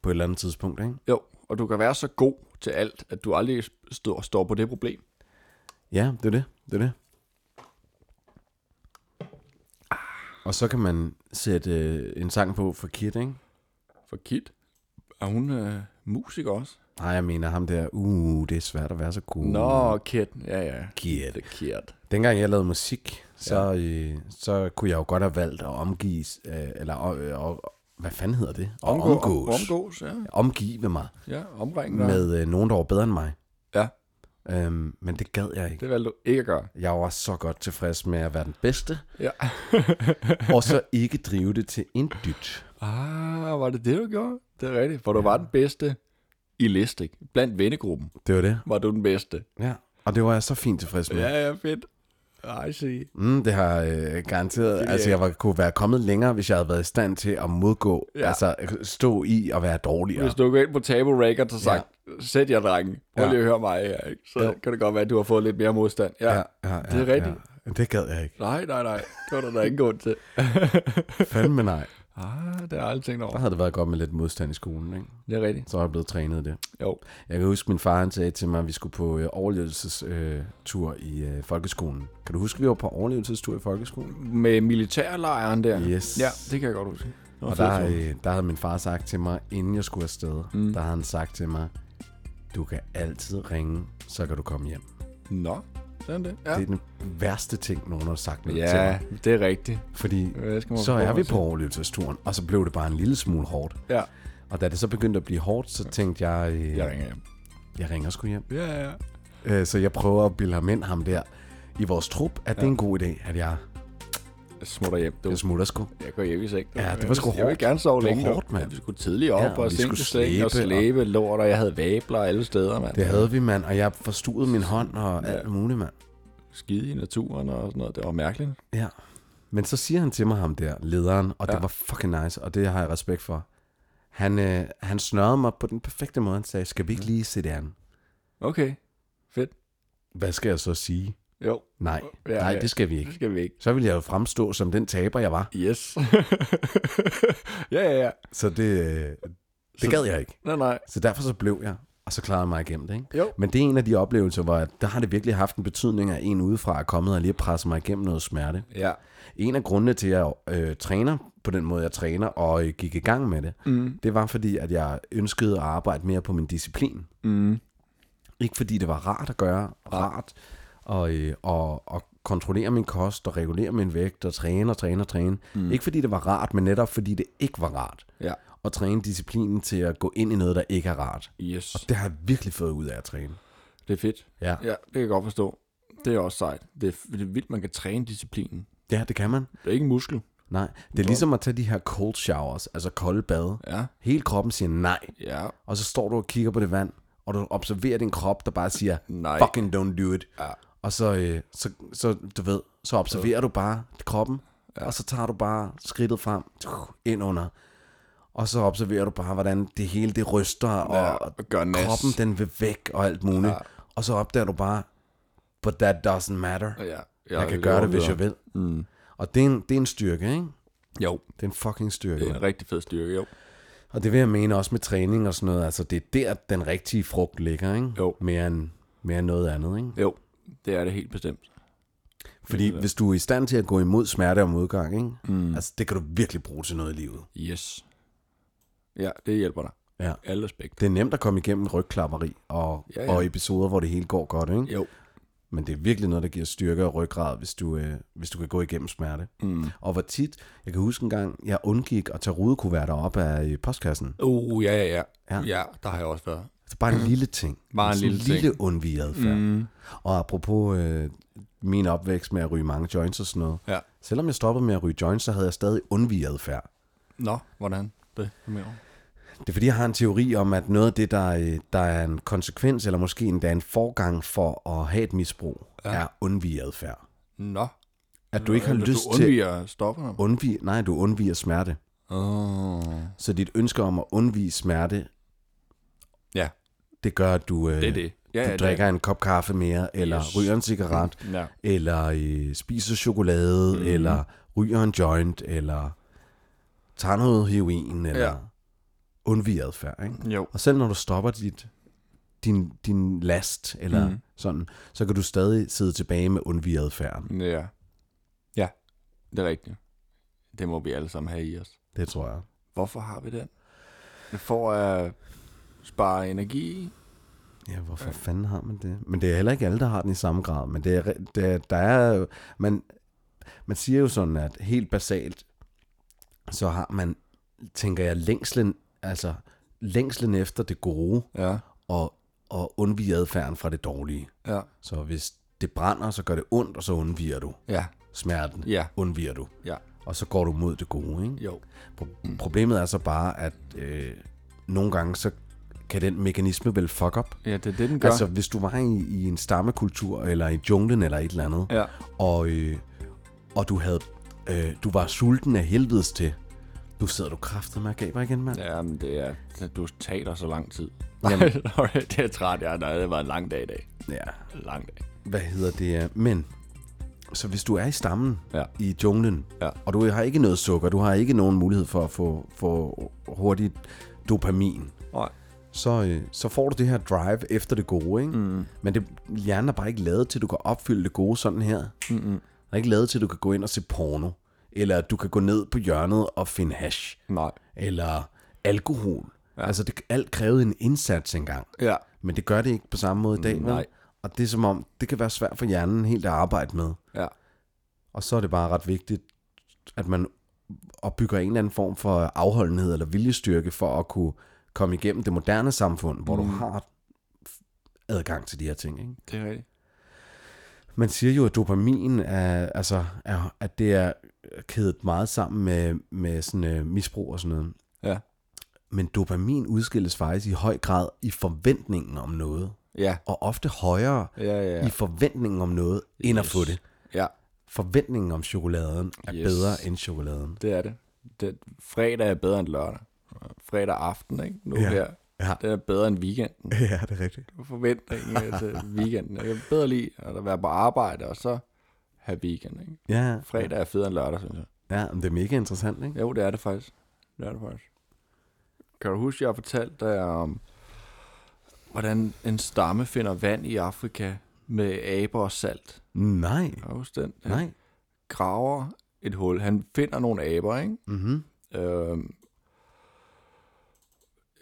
Speaker 1: på et eller andet tidspunkt. Ikke?
Speaker 2: Jo, og du kan være så god til alt, at du aldrig står, står på det problem.
Speaker 1: Ja, det er det. Det er det. Og så kan man sætte øh, en sang på for Kid, ikke?
Speaker 2: For Kit, er hun øh, musiker også?
Speaker 1: Nej, jeg mener ham der, uh, det er svært at være så cool.
Speaker 2: Nå, Kit. Ja, ja.
Speaker 1: Kid.
Speaker 2: Det er Kit.
Speaker 1: Dengang jeg lavede musik, så, ja. øh, så kunne jeg jo godt have valgt at omgives, øh, eller øh, og, hvad fanden hedder det? At
Speaker 2: Omgå-
Speaker 1: omgås.
Speaker 2: Omgås, ja.
Speaker 1: Omgive mig
Speaker 2: Ja, omringe dig.
Speaker 1: med øh, nogen, der var bedre end mig.
Speaker 2: Ja,
Speaker 1: Øhm, men det gad jeg ikke.
Speaker 2: det valgte du ikke at gøre.
Speaker 1: Jeg var så godt tilfreds med at være den bedste,
Speaker 2: Ja.
Speaker 1: og så ikke drive det til en dyt.
Speaker 2: Ah, var det det, du gjorde? Det er rigtigt. For du var den bedste i liste. Blandt vennegruppen
Speaker 1: Det var det.
Speaker 2: var du den bedste.
Speaker 1: Ja. Og det var jeg så fint tilfreds med.
Speaker 2: Ja, ja, fedt. I see.
Speaker 1: Mm, det har øh, garanteret. Yeah. Altså, jeg var, kunne være kommet længere, hvis jeg havde været i stand til at modgå, ja.
Speaker 2: Ja.
Speaker 1: altså stå i og være dårligere.
Speaker 2: Hvis du går ind på Table Records og sagt, ja. sæt jer, drenge. Prøv lige at høre mig her, ikke? Så
Speaker 1: Jo.
Speaker 2: kan det godt være, at du har fået lidt mere modstand. Ja, ja. det er rigtigt.
Speaker 1: Ja. Det gad jeg ikke.
Speaker 2: Nej, nej, nej. Det var der da ingen grund til.
Speaker 1: Fandme nej.
Speaker 2: Ah, det har jeg aldrig tænkt
Speaker 1: Der
Speaker 2: over.
Speaker 1: havde det været godt med lidt modstand i skolen, ikke?
Speaker 2: Det er rigtigt.
Speaker 1: Så er jeg blevet trænet i det.
Speaker 2: Jo.
Speaker 1: Jeg kan huske, min far han sagde til mig, at vi skulle på øh, overlevelsestur øh, tur i øh, folkeskolen. Kan du huske, at vi var på overlevelsestur i folkeskolen?
Speaker 2: Med militærlejren der.
Speaker 1: Yes.
Speaker 2: Ja, det kan jeg godt huske. Det var
Speaker 1: Og
Speaker 2: fedt,
Speaker 1: der,
Speaker 2: jo.
Speaker 1: øh, der havde min far sagt til mig, inden jeg skulle afsted, mm. der havde han sagt til mig, du kan altid ringe, så kan du komme hjem.
Speaker 2: Nå, sådan det. Ja,
Speaker 1: Det er den værste ting, nogen har sagt noget til
Speaker 2: ja
Speaker 1: mig.
Speaker 2: det er rigtigt.
Speaker 1: Fordi
Speaker 2: det skal man
Speaker 1: så er
Speaker 2: forholde
Speaker 1: vi
Speaker 2: sig
Speaker 1: på overlevelsesturen, og så blev det bare en lille smule hårdt.
Speaker 2: Ja,
Speaker 1: Og da det så begyndte at blive hårdt, så tænkte jeg, øh,
Speaker 2: jeg ringer hjem.
Speaker 1: jeg ringer sgu hjem.
Speaker 2: Ja, ja.
Speaker 1: Øh, så jeg prøver at bilde ham ind, ham der, i vores trup, at ja. det er en god idé, at jeg,
Speaker 2: Jeg smutter hjem. Du.
Speaker 1: jeg smutter sgu.
Speaker 2: Jeg går hjem i seng.
Speaker 1: Ja, det var sgu
Speaker 2: Jeg vil
Speaker 1: hårdt.
Speaker 2: gerne sove
Speaker 1: Det var
Speaker 2: længe. du.
Speaker 1: hårdt, mand.
Speaker 2: Ja, Vi skulle tidligt
Speaker 1: Ja,
Speaker 2: op
Speaker 1: og
Speaker 2: og
Speaker 1: vi
Speaker 2: sænke
Speaker 1: skulle
Speaker 2: seng og
Speaker 1: slæbe, og-
Speaker 2: slæbe lort, og jeg havde vabler alle steder, mand.
Speaker 1: Det havde vi, mand, og jeg forstod min hånd og alt muligt, mand.
Speaker 2: skide i naturen og sådan noget. Det var mærkeligt.
Speaker 1: Ja. Men så siger han til mig ham der, lederen, og ja. det var fucking nice, og det har jeg respekt for. Han, øh, han snørrede mig på den perfekte måde. Han sagde, skal vi ikke lige se det an?
Speaker 2: Okay, fedt.
Speaker 1: Hvad skal jeg så sige?
Speaker 2: Jo,
Speaker 1: Nej, ja,
Speaker 2: Ja,
Speaker 1: nej,
Speaker 2: ja.
Speaker 1: det skal vi ikke.
Speaker 2: det skal vi ikke.
Speaker 1: Så ville jeg jo fremstå som den taber, jeg var.
Speaker 2: Yes. ja, ja, ja.
Speaker 1: Så det, øh, det gad jeg ikke.
Speaker 2: Nej, nej.
Speaker 1: Så derfor så blev jeg, og så klarede jeg mig igennem det. Ikke?
Speaker 2: Jo.
Speaker 1: Men det er en af de oplevelser, hvor jeg- der har det virkelig haft en betydning, at en udefra er kommet og lige presset mig igennem noget smerte.
Speaker 2: Ja.
Speaker 1: En af grundene til, at jeg øh, træner på den måde, jeg træner, og øh, gik i gang med det,
Speaker 2: Mm.
Speaker 1: det var fordi, at jeg ønskede at arbejde mere på min disciplin.
Speaker 2: Mm.
Speaker 1: Ikke fordi det var rart at gøre, rart og, øh, og, og kontrollere min kost og regulere min vægt og træne og træne og træne. Mm. Ikke fordi det var rart, men netop fordi det ikke var rart.
Speaker 2: Ja.
Speaker 1: At træne disciplinen til at gå ind i noget, der ikke er rart.
Speaker 2: Yes.
Speaker 1: Det har jeg virkelig fået ud af at træne.
Speaker 2: Det er fedt.
Speaker 1: Ja,
Speaker 2: Ja, det kan jeg godt forstå. Det er også sejt. Det er, det er vildt, man kan træne disciplinen.
Speaker 1: ja det kan man.
Speaker 2: Det er ikke en muskel.
Speaker 1: Nej, det er ligesom at tage de her cold showers, altså kolde bade.
Speaker 2: Ja.
Speaker 1: Hele kroppen siger nej,
Speaker 2: Ja.
Speaker 1: og så står du og kigger på det vand, og du observerer din krop, der bare siger,
Speaker 2: Nej.
Speaker 1: fucking don't do it.
Speaker 2: Ja.
Speaker 1: Og så, øh, så, så, du ved, så observerer du bare kroppen, ja. og så tager du bare skridtet frem, ind under, og så observerer du bare, hvordan det hele det ryster,
Speaker 2: Ja,
Speaker 1: og,
Speaker 2: og gør nas.
Speaker 1: kroppen den vil væk, og alt muligt. Ja. Og så opdager du bare, but that doesn't matter.
Speaker 2: Ja. ja
Speaker 1: Jeg kan gøre det, hvis jeg vil.
Speaker 2: Mm.
Speaker 1: Og det er, en, det er en styrke, ikke?
Speaker 2: Jo,
Speaker 1: Det er en fucking styrke.
Speaker 2: det er en rigtig fed styrke, jo.
Speaker 1: Og det vil jeg mene også med træning og sådan noget. Altså, det er der, den rigtige frugt ligger, ikke?
Speaker 2: Jo.
Speaker 1: Mere end, mere end noget andet, ikke?
Speaker 2: Jo, det er det helt bestemt.
Speaker 1: Fordi hvis du er i stand til at gå imod smerte og modgang, ikke? Mm. Altså, det kan du virkelig bruge til noget i livet.
Speaker 2: Yes. Ja, det hjælper dig.
Speaker 1: Ja.
Speaker 2: Alle aspekter.
Speaker 1: Det er nemt at komme igennem rygklapperi og, ja,
Speaker 2: Ja,
Speaker 1: ja.
Speaker 2: ja.
Speaker 1: og episoder, hvor det hele går godt, ikke?
Speaker 2: Jo.
Speaker 1: Men det er virkelig noget, der giver styrke og ryggrad, hvis du, øh, hvis du kan gå igennem smerte. Mm. Og hvor tit, jeg kan huske en gang, jeg undgik at tage rudekuverter op af øh, postkassen.
Speaker 2: Uh, ja, ja, ja.
Speaker 1: Ja.
Speaker 2: Ja, der har jeg også været.
Speaker 1: Så Altså, bare en lille ting.
Speaker 2: Bare en
Speaker 1: Sådan
Speaker 2: lille ting.
Speaker 1: lille undvig adfærd. Mm. Og apropos øh, min opvækst med at ryge mange joints og sådan noget.
Speaker 2: Ja.
Speaker 1: Selvom jeg stoppede med at ryge joints, så havde jeg stadig undvig adfærd.
Speaker 2: Nå, hvordan? Det er mere.
Speaker 1: Det er fordi, jeg har en teori om, at noget af det, der, øh, der er en konsekvens, eller måske endda en forgang for at have et misbrug, ja. er undvig adfærd.
Speaker 2: Nå.
Speaker 1: At du ikke har
Speaker 2: Eller
Speaker 1: lyst
Speaker 2: du
Speaker 1: til
Speaker 2: undviger stofferne.
Speaker 1: undvige, nej, du undviger smerte.
Speaker 2: Oh.
Speaker 1: Så dit ønske om at undvige smerte,
Speaker 2: Ja,
Speaker 1: det gør, at du, øh,
Speaker 2: det er det. Ja,
Speaker 1: du
Speaker 2: ja,
Speaker 1: drikker en kop kaffe mere, eller yes.
Speaker 2: Yes.
Speaker 1: ryger en cigaret,
Speaker 2: Det. Ja.
Speaker 1: eller øh, spiser chokolade, mm. eller ryger en joint, eller tager noget heroin, eller ja.
Speaker 2: Ja.
Speaker 1: undviger adfærd. Ikke?
Speaker 2: Jo.
Speaker 1: Og selv når du stopper dit, din, din last, eller mm. sådan, så kan du stadig sidde tilbage med undviger adfærden.
Speaker 2: Ja. Ja, det er rigtigt. Det må vi alle sammen have i os.
Speaker 1: Det tror jeg.
Speaker 2: Hvorfor har vi den? For at spare energi.
Speaker 1: Ja, hvorfor ja. fanden har man det? Men det er heller ikke alle, der har den i samme grad. Men det er, re- det er, der er jo- man, man siger jo sådan, at helt basalt, så har man tænker jeg, længslen, altså længslen efter det gode
Speaker 2: Ja,
Speaker 1: og, og undvige adfærden fra det dårlige.
Speaker 2: ja,
Speaker 1: Så hvis det brænder, så gør det ondt, og så undviger du
Speaker 2: ja,
Speaker 1: smerten.
Speaker 2: Ja.
Speaker 1: Undviger du.
Speaker 2: ja,
Speaker 1: Og så går du mod det gode, ikke?
Speaker 2: jo.
Speaker 1: Pro- problemet er så bare, at øh, nogle gange, så kan den mekanisme vel fuck op.
Speaker 2: Ja, det er det, den gør.
Speaker 1: Altså, hvis du var i, i en stammekultur, eller i junglen, eller et eller andet,
Speaker 2: Ja.
Speaker 1: og, øh, og du havde, øh, du var sulten af helvedes til, nu sidder du kraftet med gaber igen, mand. Ja.
Speaker 2: Ja, men det er, du taler så lang tid. Jamen, sorry, det er jeg træt, jeg er. Nej, det var en lang dag i dag.
Speaker 1: ja.
Speaker 2: En lang dag.
Speaker 1: Hvad hedder det? øh, Men, så hvis du er i stammen,
Speaker 2: Ja.
Speaker 1: i junglen,
Speaker 2: Ja.
Speaker 1: og du har ikke noget sukker, du har ikke nogen mulighed for at få, få hurtigt dopamin,
Speaker 2: Nej.
Speaker 1: så, øh, så får du det her drive efter det gode, ikke? Mm. Men det, hjernen er bare ikke lavet til, at du kan opfylde det gode sådan her. Mm-mm. Den er ikke lavet til, at du kan gå ind og se porno, eller at du kan gå ned på hjørnet og finde hash,
Speaker 2: Nej.
Speaker 1: eller alkohol. Ja. Altså, det, alt krævede en indsats engang.
Speaker 2: Ja.
Speaker 1: Men det gør det ikke på samme måde i dag, vel?
Speaker 2: Nej.
Speaker 1: Og det er som om, det kan være svært for hjernen helt at arbejde med.
Speaker 2: Ja.
Speaker 1: Og så er det bare ret vigtigt, at man opbygger en eller anden form for afholdenhed eller viljestyrke for at kunne komme igennem det moderne samfund, hvor mm. du har adgang til de her ting. Ikke?
Speaker 2: Det er rigtigt.
Speaker 1: Man siger jo, at dopamin er, altså, er, at det er kædet meget sammen med, med sådan, øh, misbrug og sådan noget.
Speaker 2: Ja.
Speaker 1: Men dopamin udskilles faktisk i høj grad i forventningen om noget,
Speaker 2: Ja.
Speaker 1: og ofte højere
Speaker 2: Ja, ja.
Speaker 1: i forventningen om noget, end at få
Speaker 2: Yes.
Speaker 1: det.
Speaker 2: Ja,
Speaker 1: Forventningen om chokoladen er
Speaker 2: Yes.
Speaker 1: yes. bedre end chokoladen.
Speaker 2: det er det. det. Fredag er bedre end lørdag. Fredag aften, ikke? Nu
Speaker 1: Ja.
Speaker 2: her.
Speaker 1: Ja.
Speaker 2: Det er bedre end weekenden.
Speaker 1: Ja, det er rigtigt.
Speaker 2: Forventningen er til weekenden. Jeg kan bedre lide at være på arbejde, og så have weekend, ikke?
Speaker 1: Ja,
Speaker 2: Fredag er federe end lørdag, synes jeg.
Speaker 1: ja men det er mega interessant, ikke?
Speaker 2: Jo, det er det faktisk. Det er det faktisk. Kan du huske, jeg har fortalt dig om, hvordan en stamme finder vand i Afrika med aber og salt?
Speaker 1: Nej,
Speaker 2: Kan du huske den? Han
Speaker 1: nej.
Speaker 2: graver et hul. Han finder nogle aber, ikke?
Speaker 1: Mm-hmm.
Speaker 2: Øhm,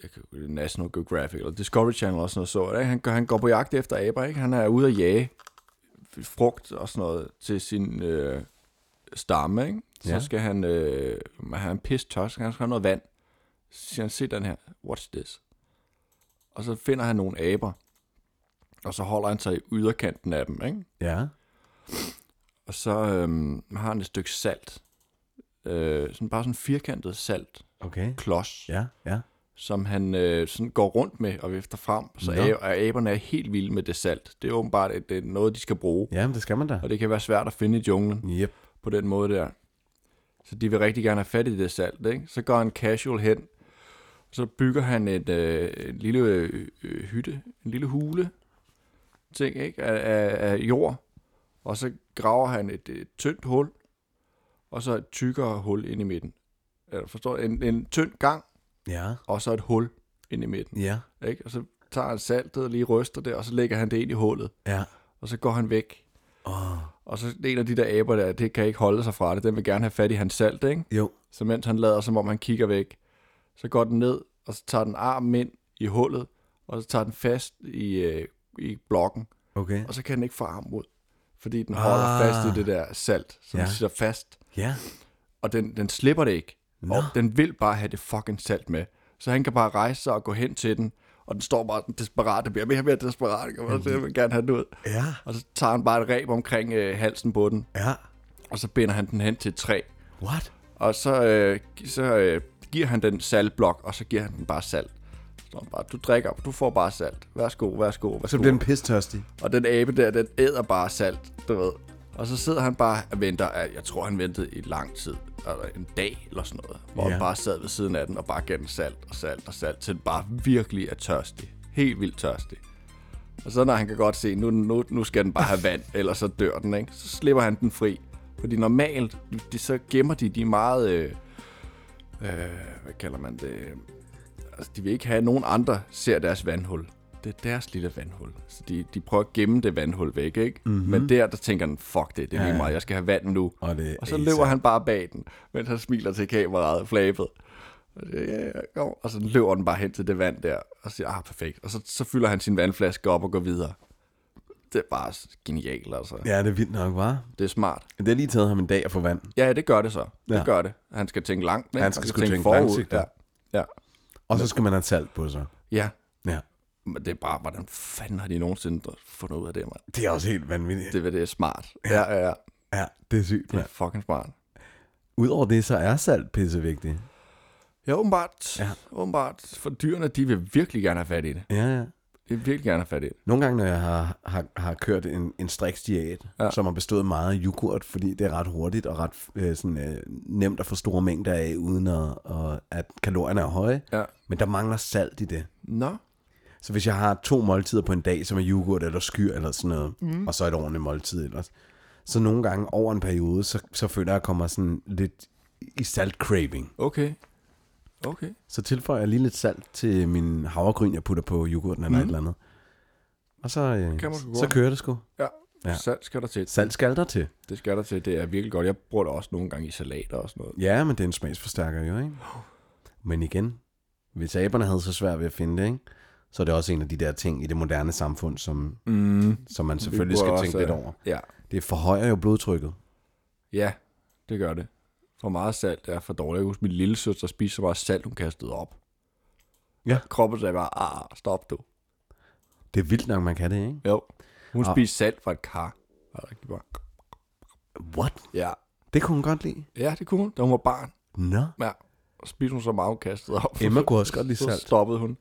Speaker 2: jeg kan- National Geographic eller Discovery Channel og sådan noget, så ikke? Han, går- han går på jagt efter aber, ikke? Han er ude at jage frugt og sådan noget til sin øh, stamme, ikke? Så
Speaker 1: Ja.
Speaker 2: ja. skal han øh, have en pis tosk, han skal have noget vand. Så siger han, se den her, what's this? Og så finder han nogle aber, og så holder han sig i yderkanten af dem, ikke?
Speaker 1: Ja,
Speaker 2: Og så øhm, har han et stykke salt. Øh, sådan bare sådan firkantet salt.
Speaker 1: okay.
Speaker 2: Klods
Speaker 1: Ja, ja.
Speaker 2: som han øh, sådan går rundt med og vifter frem, så
Speaker 1: Nå.
Speaker 2: no. ab- aberne er helt vilde med det salt. Det er åbenbart at det er noget, de skal bruge,
Speaker 1: Ja, men det skal man da.
Speaker 2: og det kan være svært at finde i junglen
Speaker 1: Yep.
Speaker 2: på den måde der. Så de vil rigtig gerne have fat i det salt, ikke? Så går han casual hen, så bygger han et, øh, en lille øh, øh, hytte, en lille hule, ting, ikke? Af, af, af jord, og så graver han et, et tyndt hul, og så et tykkere hul ind i midten. Eller forstår du? En, en tynd gang,
Speaker 1: Ja,
Speaker 2: og så et hul ind i midten.
Speaker 1: ja,
Speaker 2: Ikke? Og så tager han saltet og lige ryster det, og så lægger han det ind i hullet.
Speaker 1: ja.
Speaker 2: Og så går han væk.
Speaker 1: Åh,
Speaker 2: Og så en af de der aber der, det kan ikke holde sig fra det. Den vil gerne have fat i hans salt, ikke?
Speaker 1: jo.
Speaker 2: Så mens han lader, som om han kigger væk, så går den ned, og så tager den armen ind i hullet, og så tager den fast i, øh, i blokken.
Speaker 1: Okay.
Speaker 2: Og så kan den ikke få armen ud, fordi den holder
Speaker 1: Ah.
Speaker 2: fast i det der salt, som
Speaker 1: Ja.
Speaker 2: ja. sidder fast.
Speaker 1: Ja,
Speaker 2: Og den, den slipper det ikke.
Speaker 1: Nå.
Speaker 2: Og den vil bare have det fucking salt med. Så han kan bare rejse sig og gå hen til den, og den står bare den desperat, det bliver mere og mere desperat, kan man, jeg vil gerne have den ud.
Speaker 1: ja,
Speaker 2: Og så tager han bare et reb omkring øh, halsen på den,
Speaker 1: ja.
Speaker 2: og så binder han den hen til et træ.
Speaker 1: What?
Speaker 2: Og så, øh, gi- så øh, giver han den saltblok, og så giver han den bare salt. Så står han bare, du drikker, du får bare salt. Værsgo, værsgo, værsgo.
Speaker 1: Så bliver den pistørstig.
Speaker 2: Og den abe der, den æder bare salt, du ved. Og så sidder han bare og venter, at jeg tror, han ventede i lang tid, eller en dag eller sådan noget, hvor
Speaker 1: Ja.
Speaker 2: han bare sad ved siden af den og bare gav den salt og salt og salt, til den bare virkelig er tørstig. Helt vildt tørstig. Og så når han kan godt se, nu, nu, nu skal den bare have vand, ellers så dør den, ikke? Så slipper han den fri. Fordi normalt, de, de, så gemmer de de er meget, øh, øh, hvad kalder man det, altså, de vil ikke have, at nogen andre ser deres vandhul. Det er deres lille vandhul. Så de, de prøver at gemme det vandhul væk, ikke?
Speaker 1: Mhm.
Speaker 2: Mm-hmm. Men der, der tænker han, fuck det, det er lige meget, jeg skal have vand nu.
Speaker 1: Og det er
Speaker 2: og så
Speaker 1: ASAP.
Speaker 2: løber han bare bag den, mens han smiler til kameraet, flabet. Og siger, Ja, ja, kom. Og så løber den bare hen til det vand der, og siger, ah, perfekt. Og så, så fylder han sin vandflaske op og går videre. Det er bare genialt, altså. Ja.
Speaker 1: Ja, det er vildt nok, var.
Speaker 2: Det er smart.
Speaker 1: Det har lige taget ham en dag at få vand.
Speaker 2: Ja, det gør det så. Det
Speaker 1: Ja.
Speaker 2: gør det. Han skal tænke langt. ikke?
Speaker 1: Han skal sgu tænke langsigtet.
Speaker 2: Ja. ja.
Speaker 1: Og så skal man have salt på sig.
Speaker 2: Ja.
Speaker 1: Ja.
Speaker 2: Men det er bare, hvordan fanden har de nogensinde fundet ud af det, mand?
Speaker 1: Det er også helt vanvittigt.
Speaker 2: Det, er- det er smart. Ja, ja, ja.
Speaker 1: Ja, det er sygt,
Speaker 2: Det er
Speaker 1: mand.
Speaker 2: fucking smart.
Speaker 1: Udover det, så er salt pissevigtigt.
Speaker 2: Ja, åbenbart.
Speaker 1: Ja.
Speaker 2: Ja. Åbenbart. For dyrene, de vil virkelig gerne have fat i det.
Speaker 1: Ja, ja.
Speaker 2: De vil virkelig gerne have fat i det.
Speaker 1: Nogle gange, når jeg har, har, har kørt en, en striksdiæt, ja.
Speaker 2: Ja.
Speaker 1: som har bestået meget af yoghurt, fordi det er ret hurtigt og ret øh, sådan, øh, nemt at få store mængder af, uden at, og, at kalorierne er høje.
Speaker 2: Ja.
Speaker 1: Men der mangler salt i det.
Speaker 2: Nå.
Speaker 1: Så hvis jeg har to måltider på en dag, som er yoghurt eller skyr eller sådan noget, mm. og så et ordentligt måltid ellers, så nogle gange over en periode, så, så føler jeg, at jeg kommer sådan lidt i salt-craving.
Speaker 2: Okay. Okay.
Speaker 1: Så tilføjer jeg lige lidt salt til min havregryn, jeg putter på yoghurten eller mm. et eller andet. Og så, øh,
Speaker 2: Kan man sgu
Speaker 1: så
Speaker 2: godt.
Speaker 1: kører det sgu.
Speaker 2: Ja.
Speaker 1: Ja.
Speaker 2: ja. Salt skal der til.
Speaker 1: Salt skal der til.
Speaker 2: Det skal der til. Det er virkelig godt. Jeg bruger det også nogle gange i salater og sådan noget.
Speaker 1: Ja, men det er en smagsforstærker jo, ikke? Men igen, hvis aberne havde så svært ved at finde det, ikke? så er det også en af de der ting i det moderne samfund, som,
Speaker 2: Mm.
Speaker 1: som man selvfølgelig
Speaker 2: burde
Speaker 1: skal
Speaker 2: også,
Speaker 1: tænke lidt
Speaker 2: øh,
Speaker 1: over.
Speaker 2: Ja.
Speaker 1: Det forhøjer jo blodtrykket.
Speaker 2: Ja, det gør det. For meget salt er for dårligt. Jeg husker, min lille søster spiste så meget salt, hun kastede op.
Speaker 1: Ja.
Speaker 2: Kroppen sagde bare, ah, stop du.
Speaker 1: Det er vildt nok, man kan det, ikke?
Speaker 2: Jo. Hun
Speaker 1: Ah.
Speaker 2: spiste salt fra et kar. Det var rigtig godt.
Speaker 1: What?
Speaker 2: Ja.
Speaker 1: Det kunne hun godt lide.
Speaker 2: ja, det kunne hun, da hun var barn.
Speaker 1: Nå.
Speaker 2: Ja. Og spiste hun så meget, hun kastede op.
Speaker 1: Emma kunne også godt lide
Speaker 2: Så
Speaker 1: salt.
Speaker 2: stoppede hun.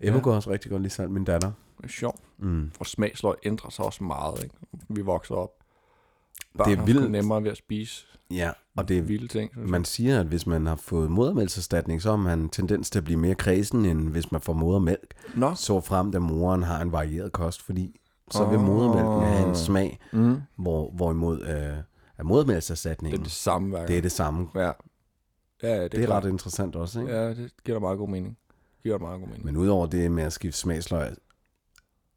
Speaker 1: Emma ja. kunne også rigtig godt lide salt, min datter.
Speaker 2: Det er sjovt.
Speaker 1: Mm.
Speaker 2: For smagsløg ændrer sig også meget, ikke? Vi vokser op.
Speaker 1: Det
Speaker 2: Børn
Speaker 1: er
Speaker 2: har
Speaker 1: vildt.
Speaker 2: sgu nemmere ved at spise
Speaker 1: Ja, og det er
Speaker 2: vilde ting. synes jeg.
Speaker 1: man siger, at hvis man har fået modermælkserstatning, så har man tendens til at blive mere kredsen, end hvis man får modermælk.
Speaker 2: Nå.
Speaker 1: så frem, at moren har en varieret kost, fordi så vil
Speaker 2: Åh.
Speaker 1: modermælken have en smag,
Speaker 2: Mm.
Speaker 1: hvor, hvorimod øh, er modermælkserstatningen,
Speaker 2: Det er det
Speaker 1: det,
Speaker 2: samme værk.
Speaker 1: det er det samme. Det
Speaker 2: Ja. Ja, ja, det er,
Speaker 1: er, det er
Speaker 2: klart.
Speaker 1: ret interessant også, ikke? Ja.
Speaker 2: Ja, det giver da meget god mening. Det giver da meget god mening.
Speaker 1: Men udover det med at skifte smagsløg,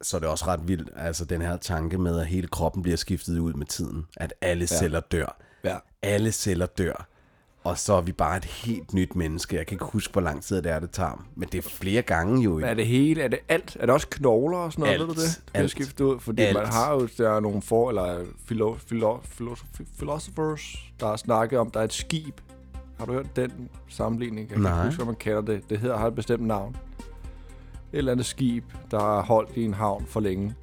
Speaker 1: så er det også ret vildt, altså den her tanke med, at hele kroppen bliver skiftet ud med tiden, at alle ja. celler dør.
Speaker 2: ja.
Speaker 1: Alle celler dør. Og så er vi bare et helt nyt menneske. Jeg kan ikke huske, hvor lang tid det er, det tager. Men det er flere gange jo.
Speaker 2: Er
Speaker 1: Ikke?
Speaker 2: det hele? Er det alt? Er det også knogler og sådan noget?
Speaker 1: Alt.
Speaker 2: Alt. Ved du det? Det bliver
Speaker 1: Alt.
Speaker 2: skiftet ud, fordi
Speaker 1: Alt.
Speaker 2: alt. man har jo der er nogle for, eller philo, philo, philo, philosophers, der har snakket om, der er et skib. Har du hørt den sammenligning? Jeg kan
Speaker 1: Nej.
Speaker 2: ikke huske, hvad man kalder det. Det hedder, har et bestemt navn. Et eller andet skib, der har holdt i en havn for længe.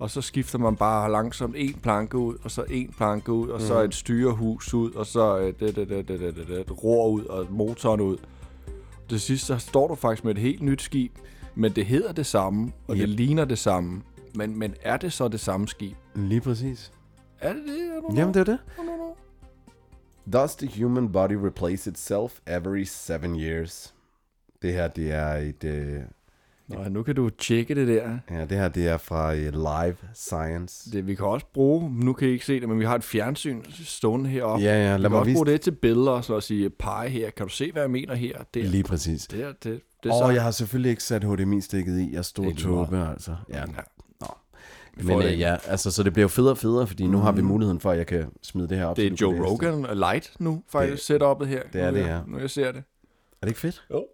Speaker 2: Og så skifter man bare langsomt en planke ud, og så en planke ud, og så et styrehus ud, og så øh, det, det, det, det, det, det, det, et ror ud, og motoren ud. Til sidst så står du faktisk med et helt nyt skib, men det hedder det samme, og yep. det ligner det samme. Men, men er det så det samme skib?
Speaker 1: Lige præcis.
Speaker 2: Er det det? Er du
Speaker 1: Jamen, det er det.
Speaker 2: no, no, no.
Speaker 1: Does the human body replace itself every seven years? Det her, det er et, øh,
Speaker 2: Nå, nu kan du tjekke det der.
Speaker 1: ja, det her, det er fra øh, Live Science.
Speaker 2: Det, vi kan også bruge, nu kan I ikke se det, men vi har et fjernsyn stående heroppe.
Speaker 1: Ja, ja, lad
Speaker 2: vi kan
Speaker 1: mig
Speaker 2: også
Speaker 1: vise
Speaker 2: bruge det til billeder og så at sige, pege her, kan du se, hvad jeg mener her? Der,
Speaker 1: Lige præcis.
Speaker 2: der, det, det er
Speaker 1: Og
Speaker 2: så.
Speaker 1: jeg har selvfølgelig ikke sat HDMI-stikket i. Jeg stod
Speaker 2: Ikke meget.
Speaker 1: tåbe, altså. Ja,
Speaker 2: Ja.
Speaker 1: Nå.
Speaker 2: Vi får
Speaker 1: Men
Speaker 2: det
Speaker 1: øh,
Speaker 2: ikke.
Speaker 1: ja, altså, så det bliver jo federe og federe, fordi nu har vi muligheden for, at jeg kan smide det her op.
Speaker 2: Det
Speaker 1: så
Speaker 2: er
Speaker 1: du kan læse
Speaker 2: Joe Rogan og Light nu, faktisk, setup'et her.
Speaker 1: det er
Speaker 2: Nu
Speaker 1: det,
Speaker 2: jeg-
Speaker 1: ja.
Speaker 2: Nu jeg ser det.
Speaker 1: Er det ikke fedt?
Speaker 2: Jo.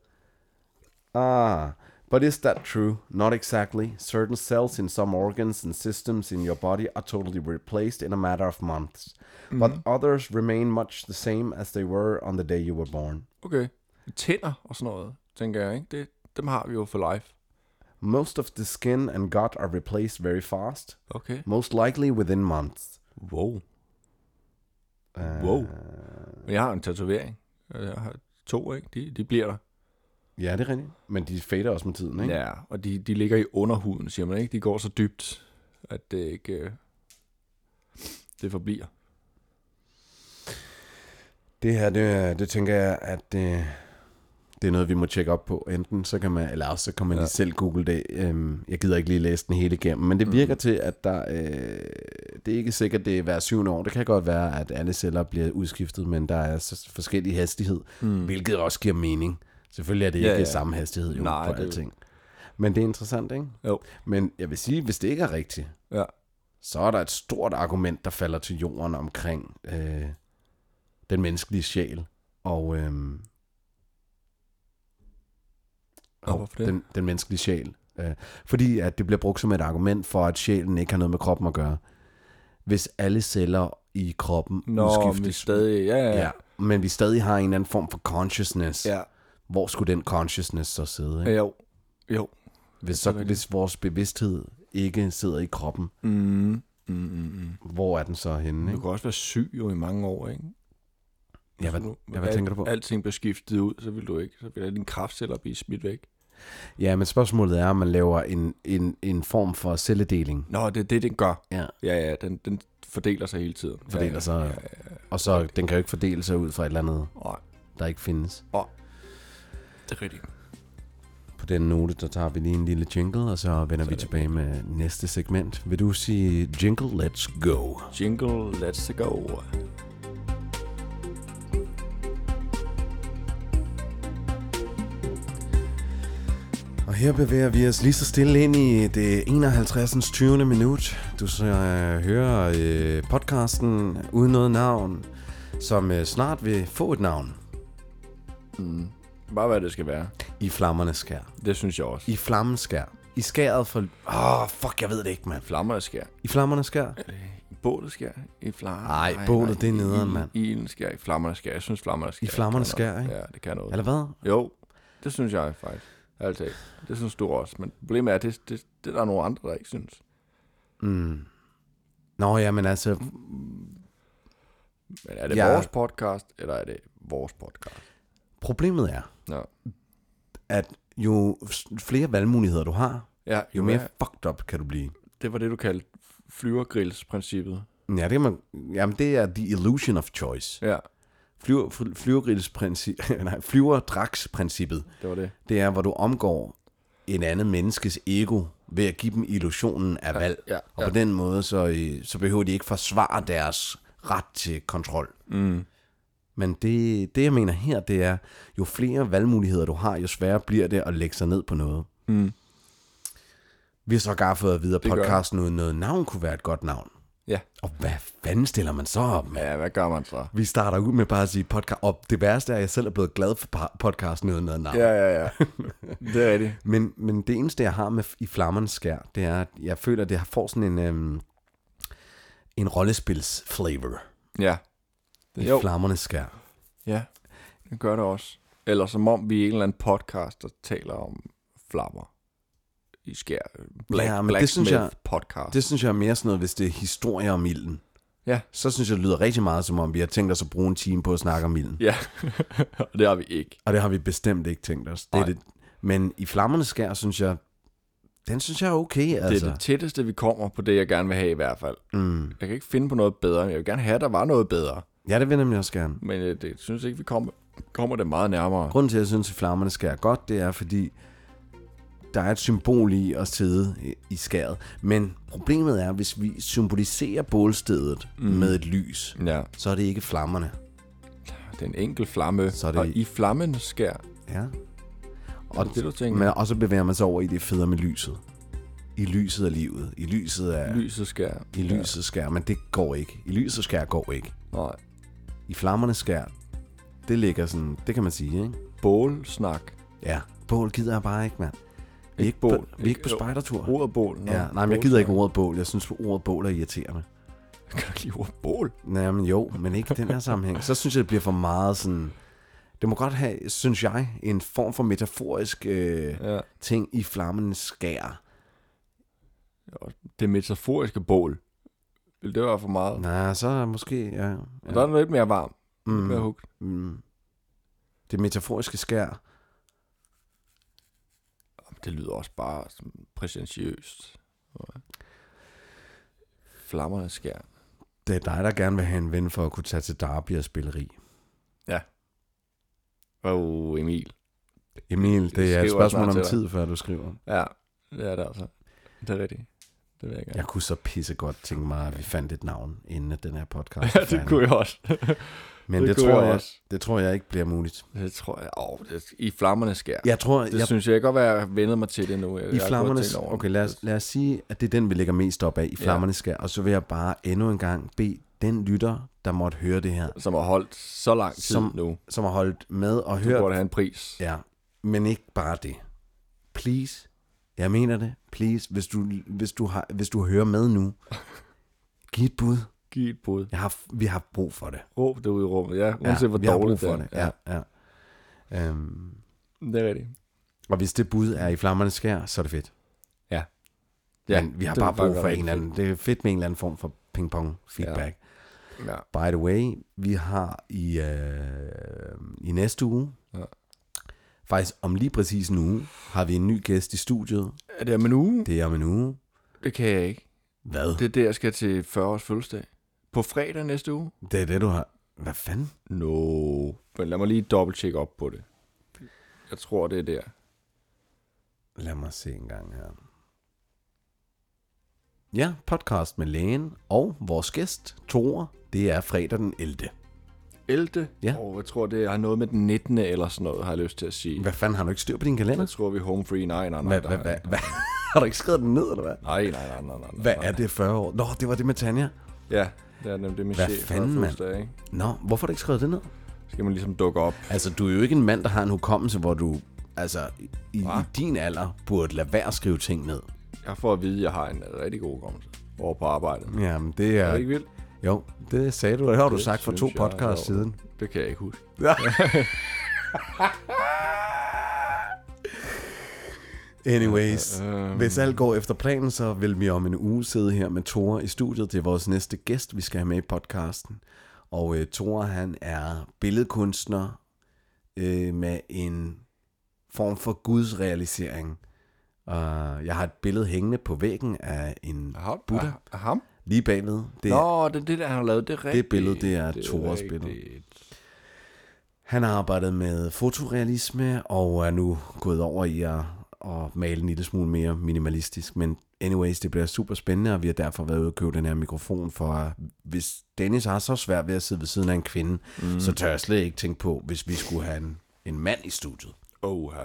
Speaker 1: Ah, but is that true? Not exactly. Certain cells in some organs and systems in your body are totally replaced in a matter of months, but others remain much the same as they were on the day you were born.
Speaker 2: Okay. Tænder og sådan noget, tænker jeg, ikke? Det, dem har vi jo for life.
Speaker 1: Most of the skin and gut are replaced very fast,
Speaker 2: Okay.
Speaker 1: most likely within months. Uh,
Speaker 2: Wow. Wow. Men jeg har en tatovering. Øh, Jeg har to, ikke? De, de bliver der.
Speaker 1: Ja, det er rigtigt. Men de fader også med tiden, ikke?
Speaker 2: Ja, og de, de ligger i underhuden, siger man, ikke? De går så dybt, at det ikke... øh, Det forbliver.
Speaker 1: Det her, det, det tænker jeg, at det, det er noget, vi må tjekke op på. Enten så kan man, eller også så kan man ja. lige selv google det. Øhm, jeg gider ikke lige læse den hele igennem, men det virker mm. til, at der, øh, det er ikke sikkert, det er hver syvende år. Det kan godt være, at alle celler bliver udskiftet, men der er så forskellig hastighed, mm. hvilket også giver mening. Selvfølgelig er det
Speaker 2: Ja,
Speaker 1: ikke
Speaker 2: ja.
Speaker 1: samme hastighed jo,
Speaker 2: Nej,
Speaker 1: Nej, på
Speaker 2: det er jo-
Speaker 1: alting. Men det er interessant, ikke?
Speaker 2: Jo.
Speaker 1: Men jeg vil sige, hvis det ikke er rigtigt,
Speaker 2: Ja.
Speaker 1: så er der et stort argument, der falder til jorden omkring øh, den menneskelige sjæl og, øh,
Speaker 2: Og hvorfor det?
Speaker 1: den, den menneskelige sjæl Øh, fordi at det bliver brugt som et argument for, at sjælen ikke har noget med kroppen at gøre. Hvis alle celler i kroppen Nå,
Speaker 2: Nå, men
Speaker 1: udskiftes.
Speaker 2: stadig, ja, ja.
Speaker 1: ja. men vi stadig har en eller anden form for consciousness.
Speaker 2: ja.
Speaker 1: Hvor skulle den consciousness så sidde? Ikke?
Speaker 2: Jo, jo.
Speaker 1: Hvis, så, hvis vores bevidsthed ikke sidder i kroppen,
Speaker 2: Mm. Mm, mm, mm.
Speaker 1: hvor er den så henne?
Speaker 2: Du
Speaker 1: Ikke?
Speaker 2: kan også være syg jo i mange år, ikke?
Speaker 1: Ja, hvad,
Speaker 2: nu,
Speaker 1: ja, hvad
Speaker 2: alt-
Speaker 1: tænker du på?
Speaker 2: Alting bliver skiftet ud, så vil du ikke. Så vil alle dine kraftceller blive smidt væk.
Speaker 1: Ja, men spørgsmålet er, om man laver en, en, en form for celledeling.
Speaker 2: Nå, det er det, den gør.
Speaker 1: Ja.
Speaker 2: Ja, ja, den, den fordeler sig hele tiden.
Speaker 1: Fordeler
Speaker 2: ja, ja,
Speaker 1: sig.
Speaker 2: Ja, ja, ja.
Speaker 1: Og så, den kan jo ikke fordele sig ud fra et eller andet,
Speaker 2: Nej,
Speaker 1: der ikke findes.
Speaker 2: det er rigtigt.
Speaker 1: På den note, der tager vi lige en lille jingle, og så vender vi tilbage med næste segment. Vil du sige jingle, let's go.
Speaker 2: Jingle, let's go.
Speaker 1: Og her bevæger vi os lige så stille ind i det 51. 20. minut. Du så øh, hører øh, podcasten uden noget navn, som øh, snart vil få et navn
Speaker 2: Mm. Bare hvad det skal være.
Speaker 1: i flammernes skær.
Speaker 2: Det synes jeg også.
Speaker 1: I flammens skær. I skæret for... Åh, oh, fuck, jeg ved det ikke, mand.
Speaker 2: Flammer skær.
Speaker 1: I flammernes skær.
Speaker 2: I bålet skær. I flammer.
Speaker 1: Ej, bålet, det er nederen, mand.
Speaker 2: I ilden skær. I flammerne skær. Jeg synes, flammerne skær.
Speaker 1: flammerne
Speaker 2: kan
Speaker 1: skær,
Speaker 2: noget.
Speaker 1: ikke?
Speaker 2: Ja, det kan noget.
Speaker 1: Eller hvad?
Speaker 2: Jo, det synes jeg faktisk. Altså, det synes du også. Men problemet er, at det, det, det er der nogle andre, der ikke synes.
Speaker 1: Mm. Nå ja, men altså,
Speaker 2: Men er det
Speaker 1: Ja.
Speaker 2: ja. vores podcast, eller er det vores podcast?
Speaker 1: problemet er,
Speaker 2: Nå.
Speaker 1: at jo s- flere valgmuligheder du har,
Speaker 2: Ja,
Speaker 1: jo mere fucked up kan du blive.
Speaker 2: det var det, du kaldte flyvergrillsprincippet.
Speaker 1: Ja, det kan man, jamen det er the illusion of choice.
Speaker 2: Ja,
Speaker 1: Flyver, fly- flyvergrillsprincip, nej, flyverdragsprincippet,
Speaker 2: det var det.
Speaker 1: det er, hvor du omgår en anden menneskes ego ved at give dem illusionen af valg.
Speaker 2: ja,
Speaker 1: Og på den måde, så, øh, så behøver de ikke forsvare deres ret til kontrol.
Speaker 2: Mm.
Speaker 1: Men det, det, jeg mener her, det er, jo flere valgmuligheder du har, jo sværere bliver det at lægge sig ned på noget.
Speaker 2: Mm.
Speaker 1: Vi har så gar fået at vide, at
Speaker 2: Det gør
Speaker 1: podcasten uden noget navn kunne være et godt navn.
Speaker 2: Ja.
Speaker 1: Og hvad fanden stiller man så op med?
Speaker 2: Ja, hvad gør man så?
Speaker 1: Vi starter ud med bare at sige podcast, og det værste er, at jeg selv er blevet glad for pa- podcasten uden noget navn.
Speaker 2: Ja, ja, ja. det er rigtigt.
Speaker 1: Men, men det eneste, jeg har med f- i flammernes skær, det er, at jeg føler, at det har- får sådan en, øhm, en rollespils-flavor
Speaker 2: Ja.
Speaker 1: i
Speaker 2: Jo.
Speaker 1: flammernes skær.
Speaker 2: Ja, det gør det også. Eller som om vi er en eller anden podcast, der taler om flammer. I skær. Black,
Speaker 1: Ja,
Speaker 2: ja,
Speaker 1: men
Speaker 2: men
Speaker 1: det
Speaker 2: Black
Speaker 1: synes jeg-
Speaker 2: podcast. Det...
Speaker 1: Det synes jeg er mere sådan noget, hvis det er historier om ilden.
Speaker 2: Ja.
Speaker 1: Så synes jeg, det lyder rigtig meget, som om vi har tænkt os at bruge en time på at snakke om ilden.
Speaker 2: Ja, og det har vi ikke.
Speaker 1: Og det har vi bestemt ikke tænkt os. Det er
Speaker 2: Nej.
Speaker 1: det. Men i flammernes skær, synes jeg, den synes jeg er okay,
Speaker 2: Det
Speaker 1: altså.
Speaker 2: er det tætteste, vi kommer på det, jeg gerne vil have i hvert fald.
Speaker 1: Mm.
Speaker 2: Jeg kan ikke finde på noget bedre. Jeg vil gerne have, at der var noget bedre.
Speaker 1: Ja, det vil jeg nemlig også gerne.
Speaker 2: Men øh, det synes ikke, vi kommer, kommer det meget nærmere.
Speaker 1: Grunden til, at jeg synes, at flammerne skærer godt, det er, fordi der er et symbol i at sidde i- i skæret. Men problemet er, hvis vi symboliserer bålstedet mm. med et lys,
Speaker 2: Ja,
Speaker 1: så er det ikke flammerne.
Speaker 2: det er en enkelt flamme.
Speaker 1: Så
Speaker 2: Så
Speaker 1: er det-
Speaker 2: det... Og i flammen skær.
Speaker 1: Ja.
Speaker 2: Og det, du tænker,
Speaker 1: Men også bevæger man sig over i det federe med lyset. I lyset af livet. I lyset af...
Speaker 2: lyset skær.
Speaker 1: I lyset skær, men det går ikke. I lyset skær går ikke.
Speaker 2: Ja. Nej.
Speaker 1: I flammerne skær, det ligger sådan... Det kan man sige, ikke?
Speaker 2: Bålsnak.
Speaker 1: Ja. Bål gider jeg bare ikke, mand. Vi er
Speaker 2: Ikke
Speaker 1: ikke, på,
Speaker 2: bål.
Speaker 1: vi er ikke på
Speaker 2: Ikke-
Speaker 1: spejdertur.
Speaker 2: Ordet bål. Nå,
Speaker 1: Ja, nej, men jeg gider ikke ordet bål. Jeg synes, ordet bål er irriterende.
Speaker 2: Jeg kan ikke lide ordet bål.
Speaker 1: Nej, men jo, men ikke i den her sammenhæng. Så synes jeg, det bliver for meget sådan... Det må godt have, synes jeg, en form for metaforisk øh,
Speaker 2: Ja.
Speaker 1: ting i flammen skær.
Speaker 2: Det metaforiske bål. Vil det være for meget? Ja.
Speaker 1: Nej, så er måske... Ja, ja.
Speaker 2: Og der er noget lidt mere varm. Mm. Mere
Speaker 1: mm,
Speaker 2: hugt.
Speaker 1: mm. Det metaforiske skær.
Speaker 2: Det lyder også bare som præsentiøst. Ja. Flammerne skær.
Speaker 1: Det er dig, der gerne vil have en ven for at kunne tage til Derby og spille rig.
Speaker 2: Åh, oh, Emil.
Speaker 1: Emil, det er
Speaker 2: skriver
Speaker 1: et spørgsmål
Speaker 2: snart
Speaker 1: om
Speaker 2: til dig.
Speaker 1: tid, før du skriver.
Speaker 2: Ja, det er det altså. Det er rigtigt. Det vil jeg gerne.
Speaker 1: Jeg kunne så pisse godt tænke mig, at vi fandt et navn, inden at den her podcast
Speaker 2: Ja,
Speaker 1: er
Speaker 2: det
Speaker 1: færdig.
Speaker 2: kunne jeg også.
Speaker 1: Men det,
Speaker 2: det
Speaker 1: det
Speaker 2: kunne
Speaker 1: tror
Speaker 2: jeg
Speaker 1: jeg,
Speaker 2: også.
Speaker 1: det tror jeg ikke bliver muligt.
Speaker 2: Det tror jeg. Åh, oh, i flammerne skær.
Speaker 1: Jeg tror,
Speaker 2: Det
Speaker 1: jeg,
Speaker 2: synes jeg, jeg kan godt være, at jeg har vendet mig til det nu. Jeg,
Speaker 1: i
Speaker 2: jeg har gået og tænkt
Speaker 1: flammernes...
Speaker 2: over det.
Speaker 1: Okay, lad os, lad os sige, at det er den, vi lægger mest op af, i
Speaker 2: Ja.
Speaker 1: flammernes skær. Og så vil jeg bare endnu en gang bede den lytter, der måtte høre det her,
Speaker 2: Som har holdt så lang tid
Speaker 1: Som
Speaker 2: som nu.
Speaker 1: som har holdt med og
Speaker 2: Du
Speaker 1: hørt...
Speaker 2: burde have en pris.
Speaker 1: Ja, men ikke bare det. Please, Jeg mener det. Please, hvis du, hvis du, har, hvis du hører med nu, giv et bud.
Speaker 2: Giv et bud.
Speaker 1: Jeg har, vi har brug for det.
Speaker 2: Råb det ud i rummet. Ja, uanset hvor
Speaker 1: vi har brug
Speaker 2: dårligt
Speaker 1: for
Speaker 2: er.
Speaker 1: det. Ja, ja. Øhm,
Speaker 2: Det er rigtigt.
Speaker 1: og hvis det bud er i flammernes skær, så er det fedt.
Speaker 2: Ja.
Speaker 1: Ja, Men vi har
Speaker 2: det
Speaker 1: bare
Speaker 2: vil
Speaker 1: brug
Speaker 2: være
Speaker 1: for en
Speaker 2: rigtig
Speaker 1: eller anden. Det er fedt med en eller anden form for ping-pong feedback. Ja.
Speaker 2: fedt. Ja.
Speaker 1: By the way, vi har i, øh, i næste uge, ja.
Speaker 2: Ja.
Speaker 1: faktisk om lige præcis en uge, har vi en ny gæst i studiet.
Speaker 2: Er det om en uge?
Speaker 1: Det er om en uge.
Speaker 2: Det kan jeg ikke.
Speaker 1: Hvad?
Speaker 2: Det er der, jeg skal til 40 års fødselsdag. På fredag næste uge?
Speaker 1: Det er det, du har... Hvad fanden?
Speaker 2: No. Men lad mig lige dobbelt tjekke op på det. Jeg tror, det er der.
Speaker 1: Lad mig se en gang her. Ja, podcast med lægen og vores gæst, Tore. Det er fredag den 11.
Speaker 2: 11.
Speaker 1: Ja.
Speaker 2: Og jeg tror, det har noget med den 19. eller sådan noget, har jeg lyst til at sige.
Speaker 1: Hvad fanden, har du ikke styr på din
Speaker 2: Jeg
Speaker 1: kalender?
Speaker 2: tror, vi er home free. Nej, nej, nej.
Speaker 1: Hvad,
Speaker 2: der
Speaker 1: hvad,
Speaker 2: er-
Speaker 1: hvad, hvad? Har du ikke skrevet den ned, eller hvad?
Speaker 2: Nej, nej, nej, nej, nej. nej.
Speaker 1: Hvad er det 40 år? Nå, det var det med Tanja.
Speaker 2: Ja, det er nemlig det, min
Speaker 1: Hvad
Speaker 2: chef har
Speaker 1: fanden, mand?
Speaker 2: fødselsdag, ikke?
Speaker 1: Nå, hvorfor har du ikke skrevet det ned?
Speaker 2: Skal man ligesom dukke op.
Speaker 1: Altså, du er jo ikke en mand, der har en hukommelse, hvor du altså, i, i
Speaker 2: Hva?
Speaker 1: din alder burde lade være at skrive ting ned.
Speaker 2: Jeg får at vide, at jeg har en rigtig god hukommelse over på arbejdet. Ja.
Speaker 1: Jamen, det
Speaker 2: Er
Speaker 1: er...
Speaker 2: det ikke vildt?
Speaker 1: Jo, det sagde du, og det har du sagt for to
Speaker 2: synes jeg er
Speaker 1: podcasts
Speaker 2: sjovt.
Speaker 1: siden.
Speaker 2: Det kan jeg ikke huske.
Speaker 1: Anyways,
Speaker 2: Øhm.
Speaker 1: hvis alt går efter planen, så vil vi om en uge sidde her med Tore i studiet. Det er vores næste gæst, vi skal have med i podcasten. Og øh, Tore, han er billedkunstner øh, med en form for Guds realisering. Uh, jeg har et billede hængende på væggen af en
Speaker 2: Ham?
Speaker 1: Buddha
Speaker 2: Ah, ham?
Speaker 1: lige bagved. Det, er-
Speaker 2: Nå, det, det der, han har lavet, det er rigtigt.
Speaker 1: billede, det er Tores
Speaker 2: rigtigt.
Speaker 1: billede. Han har arbejdet med fotorealisme og er nu gået over i at, at male en lille smule mere minimalistisk. Men anyways, det bliver super spændende, og vi har derfor været ude og købe den her mikrofon, for at hvis Dennis har så svært ved at sidde ved siden af en kvinde, mm. så tør jeg slet ikke tænke på, hvis vi skulle have en, en mand i studiet.
Speaker 2: Oha.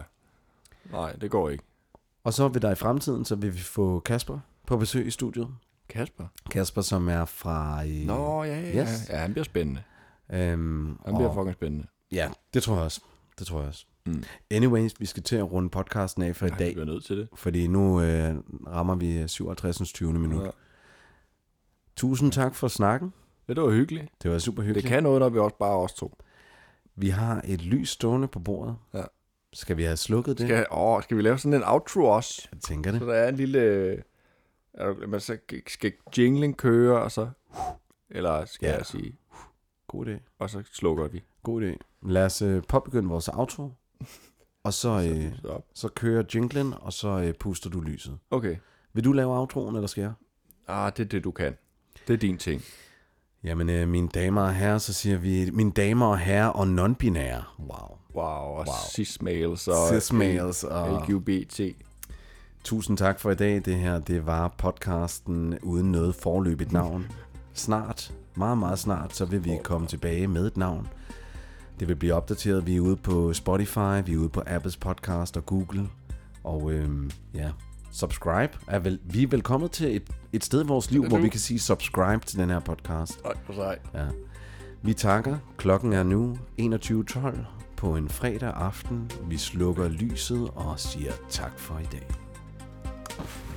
Speaker 2: Nej, det går ikke.
Speaker 1: Og så vil der i fremtiden, så vil vi få Kasper på besøg i studiet.
Speaker 2: Kasper?
Speaker 1: Kasper, som er fra... øh,
Speaker 2: Nå, ja, ja,
Speaker 1: Yes.
Speaker 2: yes. ja. han bliver spændende.
Speaker 1: Øhm,
Speaker 2: Han bliver
Speaker 1: og-
Speaker 2: fucking spændende.
Speaker 1: Ja, det tror jeg også. Det tror jeg også. Mm. Anyways, vi skal til at runde podcasten af for i
Speaker 2: Vi
Speaker 1: dag.
Speaker 2: bliver nødt til det.
Speaker 1: Fordi nu øh, rammer vi 57. 20. minut. Ja.
Speaker 2: Ja.
Speaker 1: Tusind tak for snakken.
Speaker 2: Ja, det var hyggeligt.
Speaker 1: Det var super
Speaker 2: Det
Speaker 1: hyggeligt.
Speaker 2: kan noget, når vi også bare er os to.
Speaker 1: Vi har et lys stående på bordet.
Speaker 2: Ja.
Speaker 1: Skal vi have slukket det?
Speaker 2: Skal, åh, skal vi lave sådan en outro også?
Speaker 1: Jeg tænker
Speaker 2: Så
Speaker 1: det.
Speaker 2: der er en lille... øh, Er du, man så skal jinglen køre, og så... Eller skal
Speaker 1: Ja.
Speaker 2: ja. jeg sige...
Speaker 1: God idé.
Speaker 2: Og så slukker vi.
Speaker 1: God idé. Lad os øh, påbegynde vores outro. Og så, øh,
Speaker 2: Så op.
Speaker 1: så kører jinglen, og så øh, puster du lyset.
Speaker 2: Okay.
Speaker 1: Vil du lave outroen, eller skal jeg?
Speaker 2: Ah, det er det, du kan. Det er din ting.
Speaker 1: Jamen, øh, mine damer og herrer, så siger vi, mine damer og herrer og non-binære. Wow.
Speaker 2: Wow, og wow. cis-mails og
Speaker 1: Cis-males og...
Speaker 2: LGBT.
Speaker 1: Tusind tak for i dag. Det her, det var podcasten uden noget forløbigt navn. Snart, meget, meget snart, så vil vi komme tilbage med et navn. Det vil blive opdateret. Vi er ude på Spotify, vi er ude på Apples podcast og Google. Og øhm, ja, subscribe. Er vel, vi er velkommen til et, et sted i vores liv, hvor vi kan sige subscribe til den her podcast.
Speaker 2: Ej, hvor sejt.
Speaker 1: Ja. Vi takker. Klokken er nu 21.12 på en fredag aften. Vi slukker lyset og siger tak for i dag.